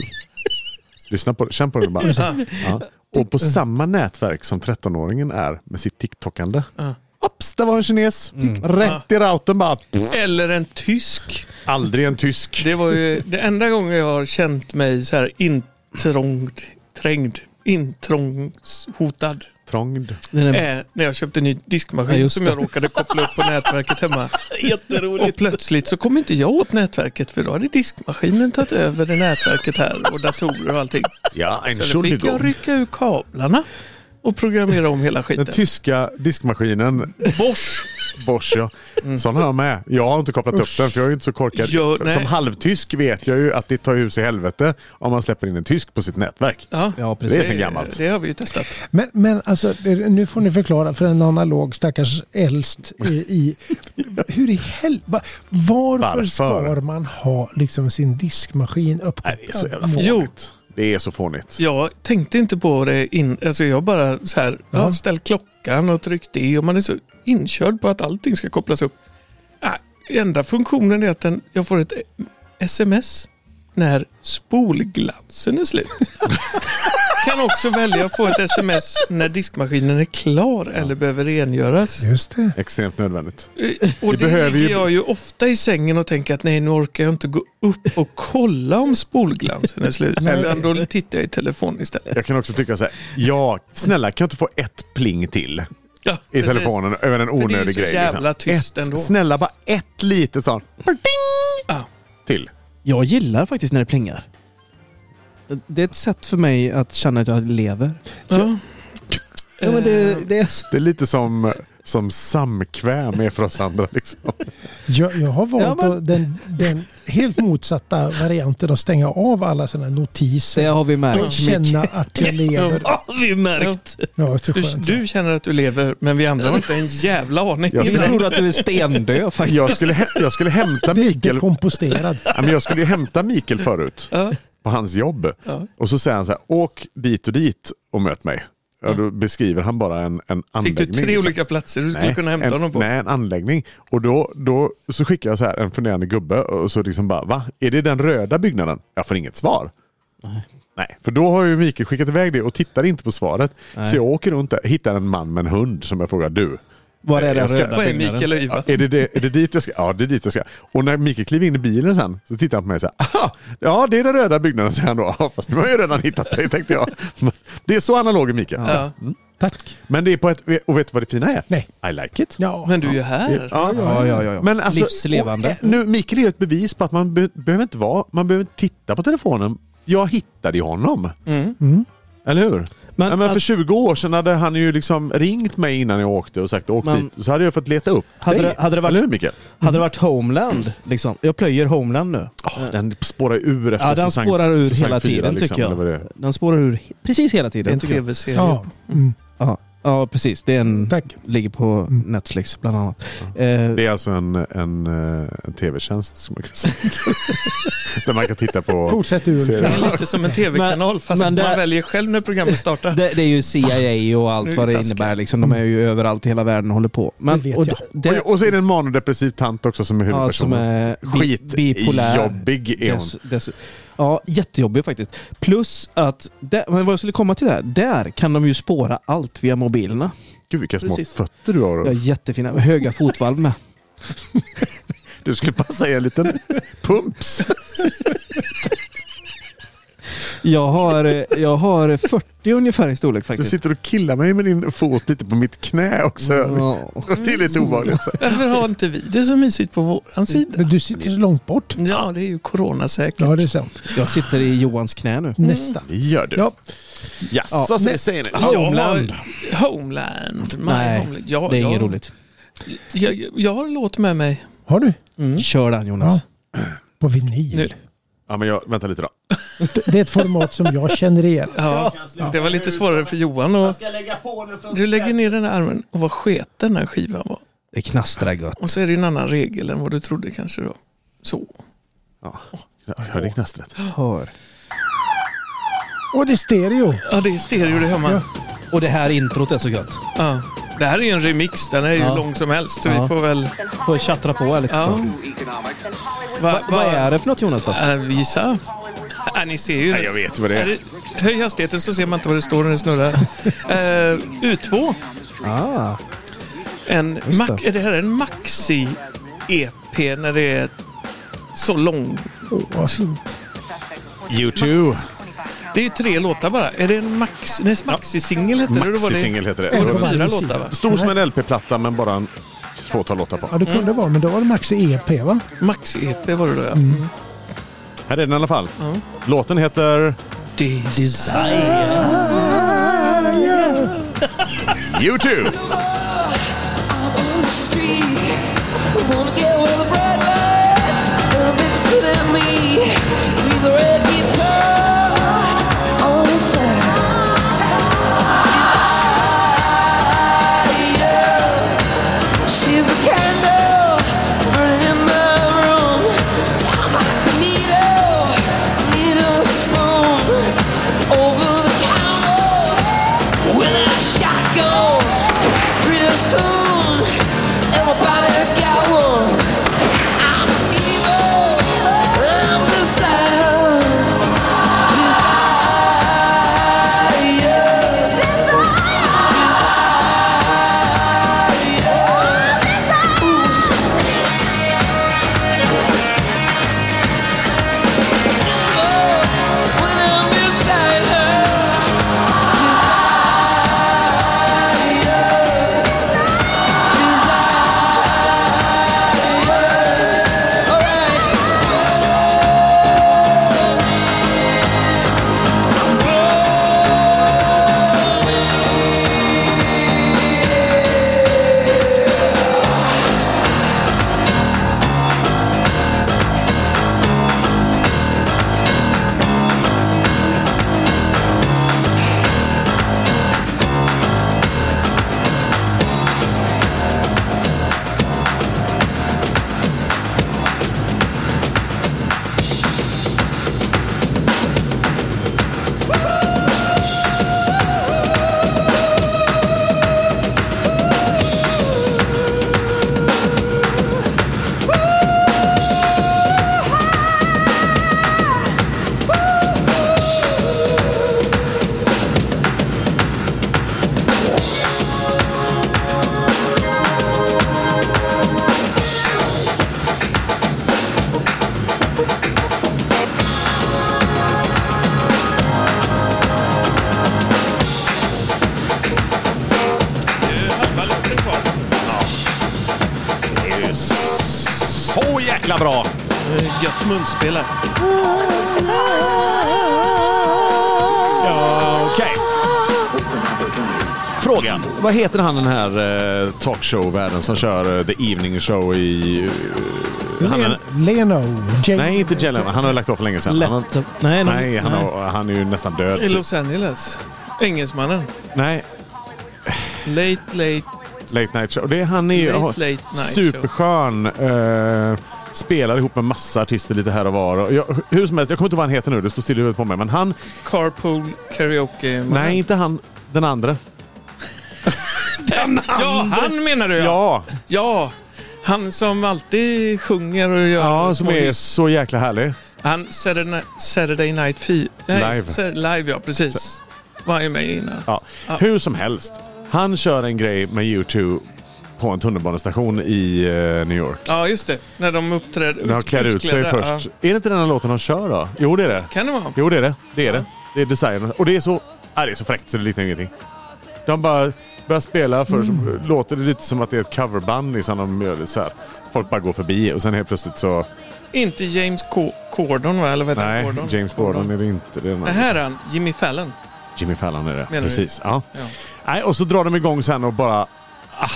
Speaker 3: Lyssna på det, känn på det bara.
Speaker 1: Ah,
Speaker 3: Ja. Och på samma nätverk som 13-åringen är med sitt TikTokande.
Speaker 1: Ja.
Speaker 3: Upps, där var en kines.
Speaker 4: Mm.
Speaker 3: Rätt i routern bara. Pff,
Speaker 1: Eller en tysk.
Speaker 3: aldrig en tysk.
Speaker 1: Det var ju det enda gången jag har känt mig så här intrångd, trängd, intrångshotad.
Speaker 3: Trångd.
Speaker 4: Den
Speaker 3: Mm.
Speaker 4: är
Speaker 1: Är när jag köpte en ny diskmaskin
Speaker 4: Ja, just
Speaker 1: som
Speaker 4: det.
Speaker 1: jag råkade koppla upp på nätverket hemma. Och
Speaker 4: jätterolig.
Speaker 1: plötsligt så kom inte jag åt nätverket för då hade diskmaskinen tagit över det nätverket här och datorer och allting.
Speaker 3: Ja, en
Speaker 1: Så då fick jag rycka ur kablarna och programmera om hela
Speaker 3: Den
Speaker 1: skiten.
Speaker 3: tyska diskmaskinen
Speaker 1: Bosch! Mm.
Speaker 3: Bosch ja. Sån har jag med. Jag har inte kopplat upp den för jag är ju inte så korkad.
Speaker 1: Jo, nej.
Speaker 3: som halvtysk vet jag ju att det tar hus i helvete om man släpper in en tysk på sitt nätverk.
Speaker 1: Ja,
Speaker 4: Ja,
Speaker 3: Det är
Speaker 4: precis.
Speaker 3: sen gammalt.
Speaker 1: det har vi ju testat.
Speaker 2: Men, men alltså, det- nu får ni förklara för en analog stackars äldst i... i hur i helvete... Varför,
Speaker 3: Varför?
Speaker 2: ska man ha liksom sin diskmaskin
Speaker 3: Nej,
Speaker 2: uppkopplad?
Speaker 3: det är så jävla
Speaker 1: Jo.
Speaker 3: fånigt. Det är så fånigt.
Speaker 1: Jag tänkte inte på det in, alltså jag bara så här, jag har
Speaker 2: Ja.
Speaker 1: ställt klockan och tryckt det och man är så inkörd på att allting ska kopplas upp. Äh, enda funktionen är att den, jag får ett e- sms när spolglansen är slut. kan också välja att få ett sms när diskmaskinen är klar eller behöver rengöras.
Speaker 2: Just det.
Speaker 3: Extremt nödvändigt.
Speaker 1: Eh, Och
Speaker 3: Vi
Speaker 1: det
Speaker 3: behöver
Speaker 1: ligger
Speaker 3: ju-
Speaker 1: jag ju ofta i sängen och tänker att nej nu orkar jag inte gå upp och kolla om spolglansen är slut. Utan då tittar jag i telefonen istället.
Speaker 3: Jag kan också tycka så här. Ja, snälla kan jag inte få ett pling till i
Speaker 1: Ja, precis.
Speaker 3: telefonen över en
Speaker 1: För det är ju
Speaker 3: onödig
Speaker 1: så
Speaker 3: grej? liksom?
Speaker 1: jävla tyst
Speaker 3: ett,
Speaker 1: ändå.
Speaker 3: Snälla bara ett litet sånt. Ding!
Speaker 1: Ja.
Speaker 3: Till.
Speaker 4: Jag gillar faktiskt när det plingar. Det är ett sätt för mig att känna att jag lever.
Speaker 1: Ja.
Speaker 4: Ja, men det, det är så.
Speaker 3: Det är lite som, som samkväm är för oss andra. Liksom.
Speaker 2: Jag, jag har valt
Speaker 4: Ja, men-
Speaker 2: att den, den helt motsatta varianten att stänga av alla sådana
Speaker 4: Det
Speaker 2: notiser.
Speaker 4: har vi
Speaker 2: Och
Speaker 4: märkt.
Speaker 2: känna att jag lever.
Speaker 4: har vi märkt.
Speaker 2: Ja, så
Speaker 1: Du,
Speaker 2: skönt.
Speaker 1: du känner att du lever, men vi andra har inte en jävla aning.
Speaker 3: Jag
Speaker 4: Jag
Speaker 3: skulle-
Speaker 4: tror att du är stendöd faktiskt.
Speaker 3: Jag, skulle, hä- jag skulle hämta Mikael
Speaker 2: Dekomposterad.
Speaker 3: Ja, men jag skulle ju hämta Mikael förut
Speaker 1: Ja.
Speaker 3: på hans jobb.
Speaker 1: Ja.
Speaker 3: Och så säger han så här, åk dit och dit och möt mig. Ja, då beskriver han bara en, en
Speaker 1: Fick du
Speaker 3: anläggning.
Speaker 1: tre
Speaker 3: liksom.
Speaker 1: olika platser du skulle kunna hämta
Speaker 3: en,
Speaker 1: honom på?
Speaker 3: Nej, en anläggning. Och då, då så skickar jag så här en funderande gubbe och så liksom bara, va? Är det den röda byggnaden? Jag får inget svar. Nej, för då har ju Mikael skickat iväg det och tittar inte på svaret. Så jag åker runt där, hittar en man med en hund som jag frågar, du,
Speaker 4: Var är den
Speaker 3: Jag ska-
Speaker 4: röda
Speaker 1: Vad är
Speaker 4: byggnaden?
Speaker 1: Mikael och Iva?
Speaker 3: är det, det, är det dit jag ska? Ja, det är dit jag ska. Och när Mikael kliver in i bilen sen så tittar han på mig så här. Aha, ja, det är den röda byggnaden säger han då. Ja, Fast nu har jag ju redan hittat dig tänkte jag. Men Det är så analog Mikael.
Speaker 1: Ja.
Speaker 2: Tack.
Speaker 3: Men det är på ett, och vet du vad det fina är?
Speaker 2: Nej.
Speaker 3: I like it.
Speaker 2: Ja.
Speaker 1: Men du är ju här.
Speaker 3: Ja,
Speaker 4: Ja, ja, ja. ja.
Speaker 3: Men alltså,
Speaker 4: Livslevande.
Speaker 3: och, eh, nu, Mikael är ju ett bevis på att man be, behöver inte vara, man behöver inte titta på telefonen. Jag hittade ju honom. Eller hur?
Speaker 4: Mm. Men, alltså-
Speaker 3: Nej, men för 20 år sedan hade han ju liksom ringt mig innan jag åkte och sagt åk
Speaker 4: Men-
Speaker 3: dit. Så hade jag fått leta upp
Speaker 4: Hade
Speaker 3: dig.
Speaker 4: det- hade det varit-
Speaker 3: Eller hur Mikael?
Speaker 4: Hade det varit Homeland, liksom. jag plöjer Homeland nu.
Speaker 3: Oh, den spårar ur efter
Speaker 4: Ja, den
Speaker 3: säsong-
Speaker 4: spårar ur
Speaker 3: säsong
Speaker 4: hela
Speaker 3: fyra, liksom,
Speaker 4: tiden tycker
Speaker 3: eller vad det
Speaker 4: jag.
Speaker 3: är.
Speaker 4: Den spårar ur he- precis hela
Speaker 1: Det är en
Speaker 4: tiden. tycker jag.
Speaker 1: tv-serie.
Speaker 2: Ja. Mm.
Speaker 4: Ja, ja, precis. Det är en,
Speaker 2: Tack.
Speaker 4: ligger på
Speaker 2: Mm.
Speaker 4: Netflix bland annat. Eh,
Speaker 3: Det är alltså en, en, eh, en tv-tjänst som man kan säga. Där man kan titta på...
Speaker 2: Fortsätt du
Speaker 3: Ser
Speaker 1: Det
Speaker 2: Ulf.
Speaker 3: du?
Speaker 1: är lite som en tv-kanal fast
Speaker 4: men
Speaker 1: man
Speaker 4: det-
Speaker 1: väljer själv när programmet startar.
Speaker 4: det, det är ju CIA och
Speaker 1: Nu
Speaker 4: allt
Speaker 1: är
Speaker 4: vad
Speaker 1: vi
Speaker 4: det
Speaker 1: taskiga.
Speaker 4: innebär. Liksom. De är ju överallt i hela världen och håller på. Men,
Speaker 2: Det vet
Speaker 4: och
Speaker 2: jag.
Speaker 4: d- det-
Speaker 3: Och, och så är det en manodepressiv tant också som är
Speaker 4: ja,
Speaker 3: huvudpersonen.
Speaker 4: som är bi, bipolär.
Speaker 3: Skitjobbig är hon.
Speaker 4: Dess, dess, ja, jättejobbig faktiskt. Plus att, där, men vad jag skulle komma till där, där kan de ju spåra allt via mobilerna.
Speaker 3: Gud vilka små
Speaker 1: Precis.
Speaker 3: fötter du har.
Speaker 4: Jag är jättefina, och höga fotvalv med.
Speaker 3: Du skulle passa i en liten pumps.
Speaker 4: Jag har, eh, jag har 40 ungefär i storlek
Speaker 3: Du
Speaker 4: faktiskt.
Speaker 3: sitter och killar mig med din fot lite på mitt knä också.
Speaker 4: Ja. Mm.
Speaker 3: Det är lite obehagligt. så.
Speaker 1: Varför har inte vi det så mysigt på
Speaker 3: Mm.
Speaker 1: våran sida?
Speaker 2: Men du sitter så långt bort.
Speaker 1: Ja, det är ju coronasäkert.
Speaker 2: Ja, det är sant.
Speaker 4: Jag sitter i Johans knä nu.
Speaker 2: Nästa.
Speaker 3: Det gör du.
Speaker 2: Ja,
Speaker 3: Jaså,
Speaker 4: Ja.
Speaker 3: säger- säger ni.
Speaker 1: Jag har-
Speaker 4: Homeland.
Speaker 1: Homeland. My
Speaker 4: Nej,
Speaker 1: homeland. Jag,
Speaker 4: Det är inget
Speaker 1: jag,
Speaker 4: roligt.
Speaker 1: Jag, jag har en låt med mig.
Speaker 2: har du?
Speaker 1: Mm.
Speaker 4: Kör den Jonas.
Speaker 2: På vinyl.
Speaker 1: Nu.
Speaker 3: Ja, men jag, vänta lite då.
Speaker 2: Det är ett format som jag känner igen.
Speaker 1: Ja, det var lite svårare för Johan. Och du lägger ner den här armen och vad sketen den här skivan var.
Speaker 4: Det knastrar gott.
Speaker 1: Och så är det en annan regel än vad du trodde kanske då. Så.
Speaker 3: Ja. Jag hörde knastret.
Speaker 4: Hör.
Speaker 2: Och det är stereo.
Speaker 1: Ja, det är stereo det hör man.
Speaker 4: Och det här introt är så gött.
Speaker 1: Ja. Det här är ju en remix, den är ju
Speaker 4: Ja.
Speaker 1: lång som helst så
Speaker 4: Ja.
Speaker 1: vi får väl...
Speaker 4: Får tjattra på här lite.
Speaker 1: Ja.
Speaker 4: såklart.
Speaker 1: Va, va,
Speaker 4: Vad är det för något Jonas? Då?
Speaker 1: Äh, gissa. Ja, ni ser ju.
Speaker 3: Nej, jag vet vad det
Speaker 1: Är
Speaker 3: är.
Speaker 1: det, höj hastigheten så ser man inte vad det står när det snurrar. Eh, U2.
Speaker 4: Ah,
Speaker 1: En
Speaker 4: Just
Speaker 1: max,
Speaker 4: det.
Speaker 1: är det här en maxi-EP när det är så lång?
Speaker 2: Åh, vad fint.
Speaker 3: U2.
Speaker 1: Det är ju tre låtar bara. Är det en max, nej, maxi-singel heter det. Då var det-
Speaker 3: Maxi-singel heter
Speaker 2: Eller
Speaker 3: det.
Speaker 1: Det
Speaker 2: vad
Speaker 1: var
Speaker 2: det
Speaker 1: fyra
Speaker 2: är.
Speaker 1: låtar va?
Speaker 3: Stor som en LP-platta men bara en fåtal låtar på.
Speaker 2: Ja, det kunde vara, men då var det Maxi EP va?
Speaker 1: Maxi-EP var det då ja.
Speaker 3: Här är den i alla fall. Låten heter
Speaker 1: Des-
Speaker 3: U2.
Speaker 6: She's a candle burning my room. Needle, needle spoon over the counter with a shotgun. Pretty soon, everybody got one. I'm evil, I'm desire, desire, desire. Ooh. When I'm beside her, desire, desire. Alright.
Speaker 3: Det är ju Så jäkla bra!
Speaker 1: Eh, Gött munspel här.
Speaker 3: Ja, okej. Frågan. Vad heter han den här eh, talkshow-världen som kör eh, The Evening Show i... eh, han är,
Speaker 2: Leno. Jay-
Speaker 3: nej, inte Jellen. Han har lagt av för länge sedan. Han har,
Speaker 4: lätt. Nej,
Speaker 3: nej, han, har, han är ju nästan död.
Speaker 1: I
Speaker 3: typ.
Speaker 1: Los Angeles. Engelsmannen.
Speaker 3: Nej,
Speaker 1: Late, late,
Speaker 3: Late Night Show. Det är, han är ju
Speaker 1: late, late night show.
Speaker 3: superskön. Eh, spelar ihop med massa artister lite här och var. Och Jag, hur som helst, jag kommer inte ihåg vad han heter nu. Det står still i huvudet på mig. Men han...
Speaker 1: Carpool karaoke.
Speaker 3: Nej, inte han. Den andra.
Speaker 1: Ja, han menar du ja.
Speaker 3: Ja,
Speaker 1: Ja, han som alltid sjunger och gör
Speaker 3: ja
Speaker 1: små
Speaker 3: som är
Speaker 1: hits.
Speaker 3: så jäkla härlig.
Speaker 1: Han Saturday, Saturday Night Fever.
Speaker 3: Live.
Speaker 1: Live, ja precis. Var ju med innan.
Speaker 3: Ja. Hur som helst. Han kör en grej med U2 på en tunnelbanestation i eh, New York.
Speaker 1: Ja, just det. När de uppträder.
Speaker 3: När han klär ut sig
Speaker 1: utklädda,
Speaker 3: först.
Speaker 1: ja.
Speaker 3: Är det inte den här låten han kör då? Jo, det är det.
Speaker 1: Kan det vara?
Speaker 3: Jo, det är det. Det är det. Det är designen. Och det är så, nej, det är så fräckt så det liknar ingenting. De bara börjar spela först. Låter det lite som att det är ett coverband. Liksom de gör det så här. Folk bara går förbi och sen helt plötsligt så...
Speaker 1: Inte James Co- Corden va? Eller vad heter
Speaker 3: Nej,
Speaker 1: han? Gordon?
Speaker 3: James Gordon är det inte. Det är någon-
Speaker 1: Det här är han, Jimmy Fallon.
Speaker 3: Jimmy Fallon är det.
Speaker 1: Menar du?
Speaker 3: Precis. Ja.
Speaker 1: Ja.
Speaker 3: Nej, och så drar de igång sen och bara... ah,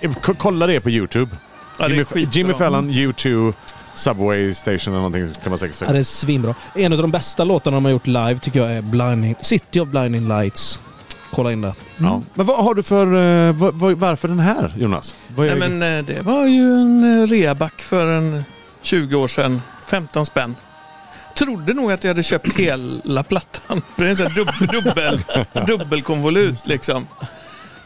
Speaker 3: eh, k- kolla det på YouTube.
Speaker 1: Ja, det är
Speaker 3: Jimmy,
Speaker 1: skitbra.
Speaker 3: Jimmy Fallon, U2, Subway Station eller någonting kan man säkert
Speaker 4: Ja,
Speaker 3: säga.
Speaker 4: det är svinbra. En av de bästa låtarna de har gjort live tycker jag är Blinding, City of Blinding Lights. Kolla in det.
Speaker 3: Ja. Men vad har du för... eh, vad- vad- varför den här, Jonas? Vad är
Speaker 1: Nej, men eh, det var ju en eh, reaback för en 20 år sedan. 15 spänn. Trodde nog att jag hade köpt hela plattan. För det är en sån här dubb, dubbel, dubbelkonvolut liksom.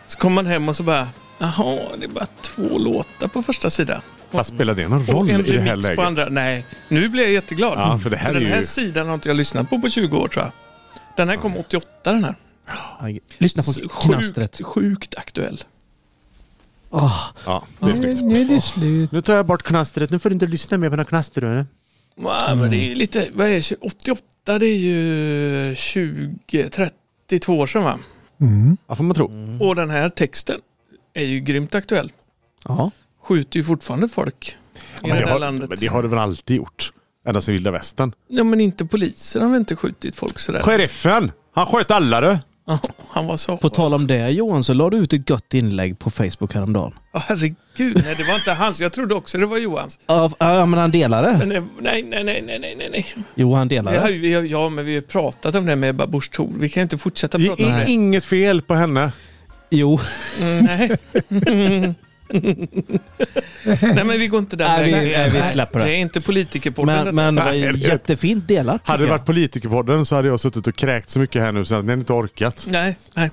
Speaker 1: Så kom man hem och så bara, jaha, det är bara två låtar på första sidan.
Speaker 3: Fast spelar det någon
Speaker 1: Och
Speaker 3: roll i
Speaker 1: en
Speaker 3: det här
Speaker 1: remix
Speaker 3: läget?
Speaker 1: på andra. Nej, nu blir jag jätteglad.
Speaker 3: Ja, för det här är
Speaker 1: den här
Speaker 3: ju-
Speaker 1: sidan har inte jag lyssnat på på 20 år tror jag. Den här kom 88 den här.
Speaker 4: Lyssna på knastret.
Speaker 1: Sjukt, sjukt aktuell.
Speaker 4: Ah,
Speaker 3: Ja,
Speaker 1: Mm.
Speaker 3: det är snyggt.
Speaker 2: Nu är det slut.
Speaker 3: Nu tar jag bort knastret. Nu får du inte lyssna mer på några knaster.
Speaker 1: Ja, men det är
Speaker 3: Mm.
Speaker 1: ju lite, vad är 88 det är ju 20, 32 år sedan va?
Speaker 2: Mm.
Speaker 3: Ja, får man tro.
Speaker 1: Och den här texten är ju grymt aktuell.
Speaker 3: Ja.
Speaker 1: Skjuter ju fortfarande folk i
Speaker 3: Men
Speaker 1: det
Speaker 3: det,
Speaker 1: där
Speaker 3: har,
Speaker 1: landet.
Speaker 3: men det har du väl alltid gjort? Ända sedan vilda västern.
Speaker 1: Ja men inte polisen har väl inte skjutit folk sådär.
Speaker 3: Sheriffen! Han sköt alla du!
Speaker 1: Ja, han var så.
Speaker 4: på tal om det Johan, så la du ut ett gött inlägg på Facebook häromdagen.
Speaker 1: Ja, herregud, nej det var inte hans. Jag trodde också det var Johans.
Speaker 4: Ja, f- ja, men han delade.
Speaker 1: Men det- nej, nej, nej, nej, nej, nej, nej.
Speaker 4: Jo, han
Speaker 1: Det här,
Speaker 4: delade.
Speaker 1: vi har, ja, men vi har ju pratat om det med Ebba Busch Thor. Vi kan inte fortsätta
Speaker 3: I,
Speaker 1: prata om det.
Speaker 3: inget fel på henne.
Speaker 4: Jo.
Speaker 1: Mm, nej. nej, men vi går inte där.
Speaker 4: Nej, vi-
Speaker 1: längre.
Speaker 4: nej, vi släpper det.
Speaker 1: Det är inte politikerpodden. detta.
Speaker 4: Men, men det var
Speaker 3: Nej,
Speaker 4: ju
Speaker 3: det-
Speaker 4: jättefint delat.
Speaker 3: Hade det
Speaker 4: tycker jag.
Speaker 3: varit Politikerpodden så hade jag suttit och kräkt så mycket här nu så hade ni inte orkat.
Speaker 1: Nej, nej.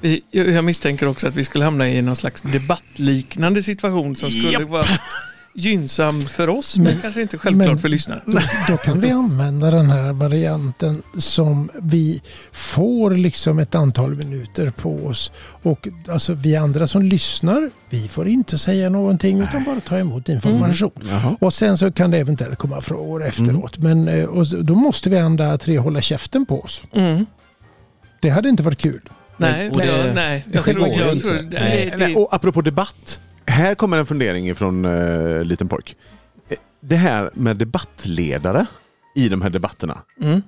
Speaker 1: Vi, jag jag misstänker också att vi skulle hamna i någon slags debattliknande situation som skulle vara gynnsam för oss, men, kanske inte självklart
Speaker 2: men-
Speaker 1: för lyssnare.
Speaker 2: Då, då kan vi använda den här varianten som vi får liksom ett antal minuter på oss. Och alltså vi andra som lyssnar, vi får inte säga någonting utan bara ta emot information.
Speaker 3: Mm.
Speaker 2: Och sen så kan det eventuellt komma frågor efteråt. Men eh, och så- då måste vi andra tre hålla käften på oss.
Speaker 1: Mm.
Speaker 2: Det hade inte varit kul.
Speaker 1: Nej,
Speaker 4: och det-
Speaker 1: jag, nej, jag
Speaker 4: det
Speaker 1: tror
Speaker 4: går
Speaker 1: jag
Speaker 4: inte.
Speaker 1: tror, nej,
Speaker 3: Nej,
Speaker 1: det,
Speaker 3: Och apropå debatt. Här kommer en fundering från eh, liten pojk. Eh, Det här med debattledare i de här debatterna.
Speaker 1: Mm.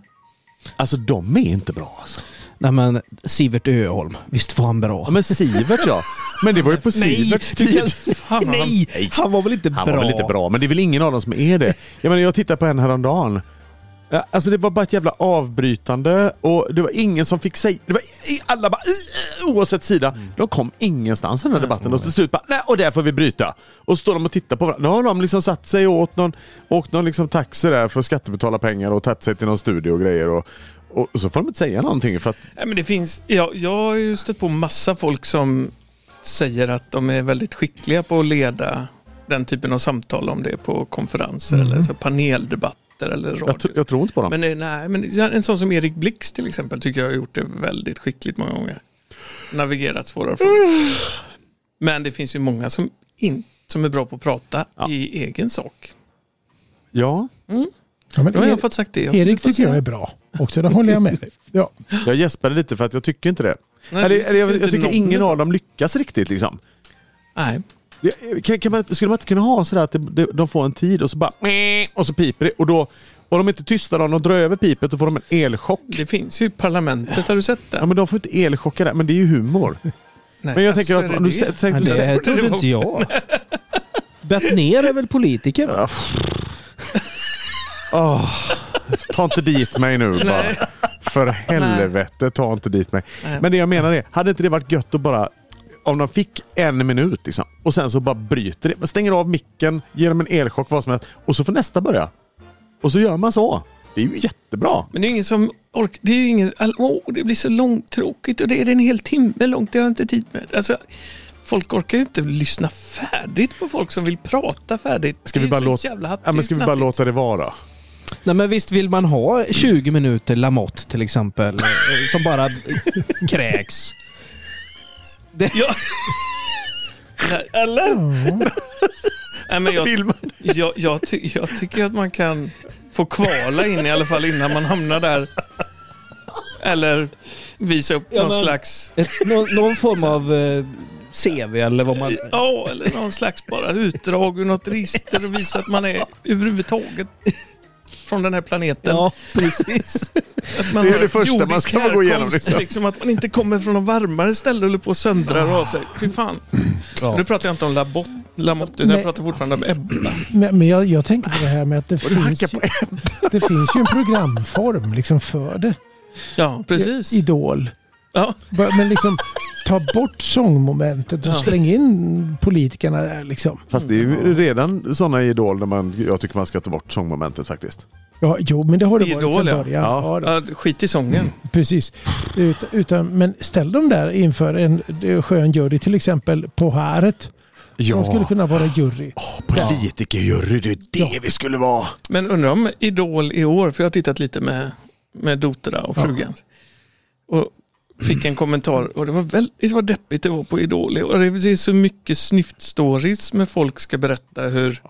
Speaker 3: Alltså de är inte bra alltså.
Speaker 4: Nej, men Sivert Öholm. Visst var han bra?
Speaker 3: Ja, men Sivert ja. Men det var ju på Siverts
Speaker 4: du
Speaker 3: tid.
Speaker 4: kan-
Speaker 1: Fan, han-
Speaker 4: Nej, han var väl inte
Speaker 3: Han
Speaker 4: bra?
Speaker 3: var väl inte bra, men det är väl ingen av dem som är det. Jag menar, jag tittade på en häromdagen. Ja, Alltså det var bara ett jävla avbrytande och det var ingen som fick säga... Det var i- alla bara... "Ih, eh", Oavsett sida. De kom ingenstans i den här debatten och till slut bara nej, och där får vi bryta. Och så står de och tittar på varandra. Nu har de liksom satt sig och åt någon, åkt någon liksom taxi där för skattebetalarpengar och tagit sig till någon studio och grejer. Och, och, och så får de inte säga någonting för att...
Speaker 1: nej, men det finns, jag, jag har ju stött på massa folk som säger att de är väldigt skickliga på att leda den typen av samtal, om det är på konferenser eller så paneldebatter eller radio.
Speaker 3: Mm. Jag, tr- jag tror inte på dem.
Speaker 1: Men, eh, nej, men en sån som Erik Blix till exempel tycker jag har gjort det väldigt skickligt många gånger. Navigerat svårare frågor. Men det finns ju många som, in, som är bra på att prata
Speaker 3: Ja.
Speaker 1: i egen sak.
Speaker 3: Ja.
Speaker 2: Ja, men
Speaker 1: Nu har
Speaker 2: Er-
Speaker 3: E-
Speaker 1: jag fått sagt det. Jag
Speaker 2: Erik
Speaker 1: får
Speaker 2: tycker jag
Speaker 1: säga.
Speaker 2: är bra också, det håller jag med dig. Ja.
Speaker 3: Jag gäspade lite för att jag tycker inte det.
Speaker 1: Nej,
Speaker 3: eller,
Speaker 1: det
Speaker 3: eller jag,
Speaker 1: tycker
Speaker 3: jag tycker
Speaker 1: inte någon.
Speaker 3: ingen av dem lyckas riktigt liksom.
Speaker 1: Nej.
Speaker 3: Det- Kan, kan man, skulle man inte kunna ha sådär att det, det, de får en tid och så bara "Meh", och så piper det och då och de är inte tysta då, de drar över pipet och får de en elchock.
Speaker 1: Det finns ju i Parlamentet, har du sett det?
Speaker 3: Ja men de får inte elchocker där, men det är ju humor.
Speaker 1: Nej,
Speaker 3: Men jag
Speaker 1: alltså,
Speaker 3: tänker
Speaker 1: är
Speaker 3: att om du
Speaker 1: det?
Speaker 3: sä- sä-
Speaker 4: Nej,
Speaker 3: du
Speaker 4: det
Speaker 3: sä-
Speaker 4: här
Speaker 1: trodde
Speaker 4: trodde
Speaker 1: det var-
Speaker 4: inte jag. Bettner är väl politiker?
Speaker 3: Ja, Åh, Ta inte dit mig nu bara. För helvete, ta inte dit mig.
Speaker 1: Nej.
Speaker 3: Men det jag menar är, hade inte det varit gött att bara om de fick en minut liksom, och sen så bara bryter det. Man stänger av micken, ger dem en elchock, vad som helst och så får nästa börja. Och så gör man så. Det är ju jättebra.
Speaker 1: Men det är ingen som orkar. Det är ju ingen... all- Åh, det blir så långtråkigt och det är en hel timme långt. Det har jag inte tid med. Alltså, folk orkar ju inte lyssna färdigt på folk som vill prata färdigt.
Speaker 3: Ska vi
Speaker 1: Det är
Speaker 3: bara,
Speaker 1: så
Speaker 3: låta,
Speaker 1: jävla
Speaker 3: ja, men
Speaker 1: hattigt,
Speaker 3: ska vi bara
Speaker 1: knattigt.
Speaker 3: låta det vara?
Speaker 4: Nej, men visst vill man ha 20 minuter Lamotte till exempel, eh, som bara kräks? Det,
Speaker 1: Ja. Nej, eller? Nej, men jag,
Speaker 3: Filmen.
Speaker 1: jag, jag, ty, jag tycker att man kan få kvala in i alla fall innan man hamnar där. Eller visa upp
Speaker 4: Ja,
Speaker 1: någon
Speaker 4: men-
Speaker 1: slags...
Speaker 4: Ett, någon, någon form av eh, CV eller vad man...
Speaker 1: Ja, eller någon slags bara utdrag ur något register och visa att man är överhuvudtaget från den här planeten.
Speaker 4: Ja, precis.
Speaker 1: Att man
Speaker 3: Det är
Speaker 1: har
Speaker 3: det första
Speaker 1: jordisk
Speaker 3: man ska gå igenom,
Speaker 1: härkomst,
Speaker 3: liksom.
Speaker 1: Att man inte kommer från någon varmare ställe och håller på och söndrar och av sig. Fy fan.
Speaker 4: Ja.
Speaker 1: Nu pratar jag inte om Labott, Lamotte, utan
Speaker 2: Nej.
Speaker 1: jag pratar fortfarande om Ebba.
Speaker 2: Men, men jag, jag tänker på det här med att det
Speaker 3: Och du
Speaker 2: finns,
Speaker 3: hackar
Speaker 2: ju,
Speaker 3: på
Speaker 2: det finns ju en programform liksom för det.
Speaker 1: Ja, precis.
Speaker 2: Idol.
Speaker 1: Ja.
Speaker 2: Bara- Men liksom ta bort sångmomentet och
Speaker 1: Ja.
Speaker 2: släng in politikerna där liksom.
Speaker 3: Fast det är ju redan sådana i Idol där man, jag tycker man ska ta bort sångmomentet faktiskt.
Speaker 2: Ja, jo, men det har det varit
Speaker 1: Idol,
Speaker 2: sedan
Speaker 1: ja.
Speaker 2: början. Ja.
Speaker 3: Ja.
Speaker 2: då.
Speaker 1: Ja, skit i sången.
Speaker 2: Precis. Ut, utan, men ställ dem där inför en eh, skön jury, till exempel på häret. Som skulle kunna vara jury.
Speaker 3: politikerjury, det är det
Speaker 2: Ja.
Speaker 3: vi skulle vara.
Speaker 1: Men undrar om Idol i år, för jag har tittat lite med, med Dotra och
Speaker 2: Ja.
Speaker 1: frugan. Och fick en kommentar och det var väldigt vad deppigt det var på Idol i år. Det det är så mycket snyftstories med folk ska berätta hur...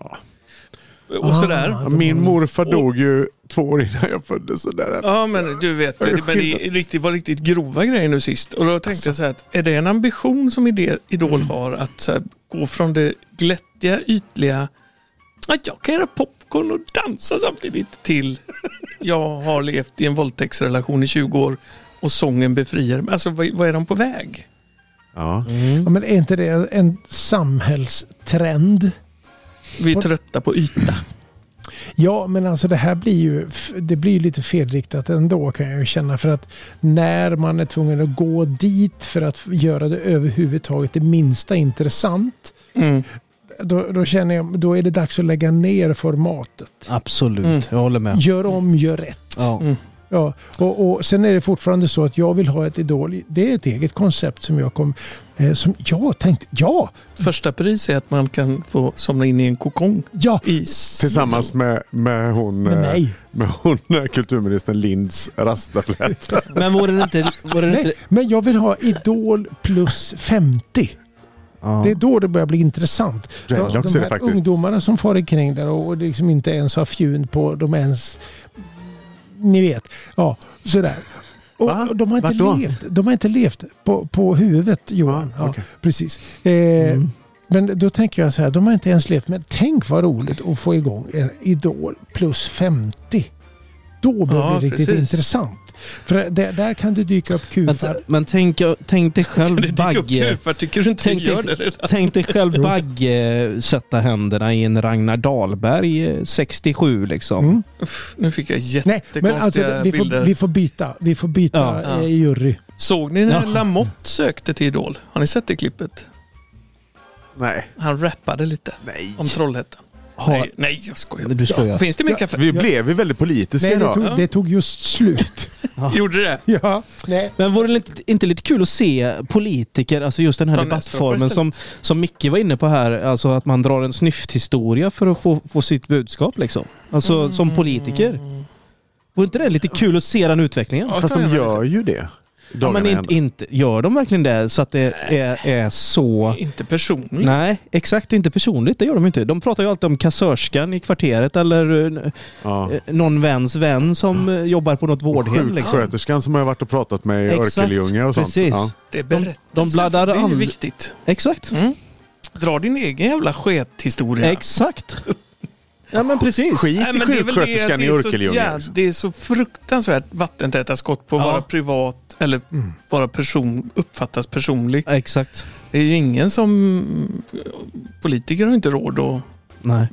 Speaker 1: Och sådär.
Speaker 2: Ah.
Speaker 3: Min morfar dog ju två år innan jag föddes. och Där.
Speaker 1: Ja men du vet, det, men det är riktigt, var riktigt grova grejer nu sist. Och då tänkte jag så här, att, är det en ambition som ide- Idol
Speaker 4: Mm.
Speaker 1: har att så här, gå från det glättiga, ytliga, att jag kan göra popcorn och dansa samtidigt till jag har levt i en våldtäktsrelation i 20 år och sången befriar mig. Alltså vad, vad är de på väg?
Speaker 3: Ja.
Speaker 2: Ja, men är inte det en samhällstrend?
Speaker 1: Vi är trötta på yta.
Speaker 2: Ja, men alltså det här blir ju f- det blir ju lite felriktat ändå kan jag ju känna. För att när man är tvungen att gå dit för att f- göra det överhuvudtaget det minsta intressant.
Speaker 1: Mm.
Speaker 2: Då, då känner jag då är det dags att lägga ner formatet.
Speaker 4: Absolut,
Speaker 1: Mm.
Speaker 4: jag håller med.
Speaker 2: Gör om, gör rätt.
Speaker 4: Ja.
Speaker 2: Ja, och, och sen är det fortfarande så att jag vill ha ett idol. Det är ett eget koncept som jag kom... Eh, som jag tänkte, ja,
Speaker 1: Första pris är att man kan få somna in i en kokong.
Speaker 2: ja,
Speaker 1: I
Speaker 3: Tillsammans med, med hon,
Speaker 2: med
Speaker 3: eh,
Speaker 2: mig.
Speaker 3: med hon eh, kulturministern Linds rastaflätt.
Speaker 4: Men vore det inte... Vore det
Speaker 2: Nej,
Speaker 4: inte
Speaker 2: men jag vill ha idol plus 50.
Speaker 4: ja.
Speaker 2: Det är då det börjar bli intressant. De,
Speaker 3: Dreadlocks
Speaker 2: de
Speaker 3: är det
Speaker 2: här
Speaker 3: faktiskt.
Speaker 2: ungdomarna som far omkring där och och liksom inte ens har fjun på, de ens... Ni vet. Ja, sådär. Och
Speaker 3: Va?
Speaker 2: och de, har
Speaker 3: Vart
Speaker 2: inte
Speaker 3: då?
Speaker 2: levt, de har inte levt på, på huvudet, Johan.
Speaker 3: Ah,
Speaker 2: ja,
Speaker 3: okej. Mm.
Speaker 2: precis. Eh, Men då tänker jag så här, de har inte ens levt. Men tänk vad roligt att få igång en Idol plus 50. Då blir
Speaker 1: Ja,
Speaker 2: det riktigt
Speaker 1: precis.
Speaker 2: intressant. För där, där kan du dyka upp
Speaker 4: Men,
Speaker 2: kufar.
Speaker 4: men tänk, tänk dig själv
Speaker 1: Det dyker upp
Speaker 4: Bagge.
Speaker 1: kufar, tycker du inte vi
Speaker 4: Tänk
Speaker 1: gör
Speaker 4: dig-
Speaker 1: det redan?
Speaker 4: Tänk dig själv Bagge sätta händerna i en Ragnar Dahlberg eh, 67 liksom.
Speaker 2: Mm.
Speaker 1: Uff, nu fick jag
Speaker 2: Nej,
Speaker 1: jättekonstiga
Speaker 2: men alltså, vi,
Speaker 1: bilder.
Speaker 2: får, vi får byta. Vi får byta
Speaker 4: Ja.
Speaker 2: eh, jury.
Speaker 1: Såg ni när
Speaker 4: Ja.
Speaker 1: Lamotte sökte till Idol? Har ni sett det klippet?
Speaker 3: Nej.
Speaker 1: Han rappade lite
Speaker 3: Nej.
Speaker 1: om Trollhättan.
Speaker 4: Har-
Speaker 1: Nej, nej, jag skojar.
Speaker 4: Du skojar.
Speaker 1: Finns det mer kaffe?
Speaker 3: Vi blev ju väldigt politiska
Speaker 2: Nej, det
Speaker 3: idag.
Speaker 2: tog, det tog just slut.
Speaker 1: Gjorde det?
Speaker 2: ja. Nej.
Speaker 4: Men vore det inte, inte lite kul att se politiker, alltså just den här
Speaker 1: Ta
Speaker 4: debattformen
Speaker 1: nästa
Speaker 4: som, som Micke var inne på här, alltså att man drar en snyfthistoria för att få, få sitt budskap liksom. Alltså
Speaker 1: Mm.
Speaker 4: som politiker. Vore inte det lite kul att se den utvecklingen?
Speaker 1: Ja,
Speaker 3: Fast
Speaker 1: kan
Speaker 3: de
Speaker 1: jag göra
Speaker 3: gör ju det.
Speaker 4: Ja, men
Speaker 3: Dagarna i
Speaker 4: inte,
Speaker 3: ända.
Speaker 4: inte, gör de verkligen det så att det är, är så...
Speaker 1: lite. Inte personligt.
Speaker 4: Nej, exakt. Inte personligt. Det gör de inte. De pratar ju alltid om kassörskan i kvarteret eller eh,
Speaker 3: Ja.
Speaker 4: eh, någon väns vän som eh, jobbar på något vårdhem. Liksom.
Speaker 3: Sjuksköterskan som jag har varit och pratat med i
Speaker 4: Exakt,
Speaker 3: Örkelljunga och sånt.
Speaker 4: precis.
Speaker 3: Ja.
Speaker 1: Det är berättelser.
Speaker 4: de bladdar
Speaker 1: det är
Speaker 4: aldrig-
Speaker 1: viktigt.
Speaker 4: Exakt.
Speaker 1: Mm. Dra din egen jävla skethistoria.
Speaker 4: Exakt. Ja men precis.
Speaker 3: Skit
Speaker 1: Nej,
Speaker 3: i
Speaker 1: men det är väl det att
Speaker 3: sjuksköterskan
Speaker 1: det
Speaker 3: i
Speaker 1: är så
Speaker 3: Örkelljunga.
Speaker 1: jä-
Speaker 3: liksom.
Speaker 1: Det är så fruktansvärt vattentäta skott på att
Speaker 4: Ja. Mm.
Speaker 1: vara privat eller vara person, uppfattas personlig.
Speaker 4: Exakt.
Speaker 1: Det är ju ingen som... Politiker har ju inte råd att
Speaker 4: Nej.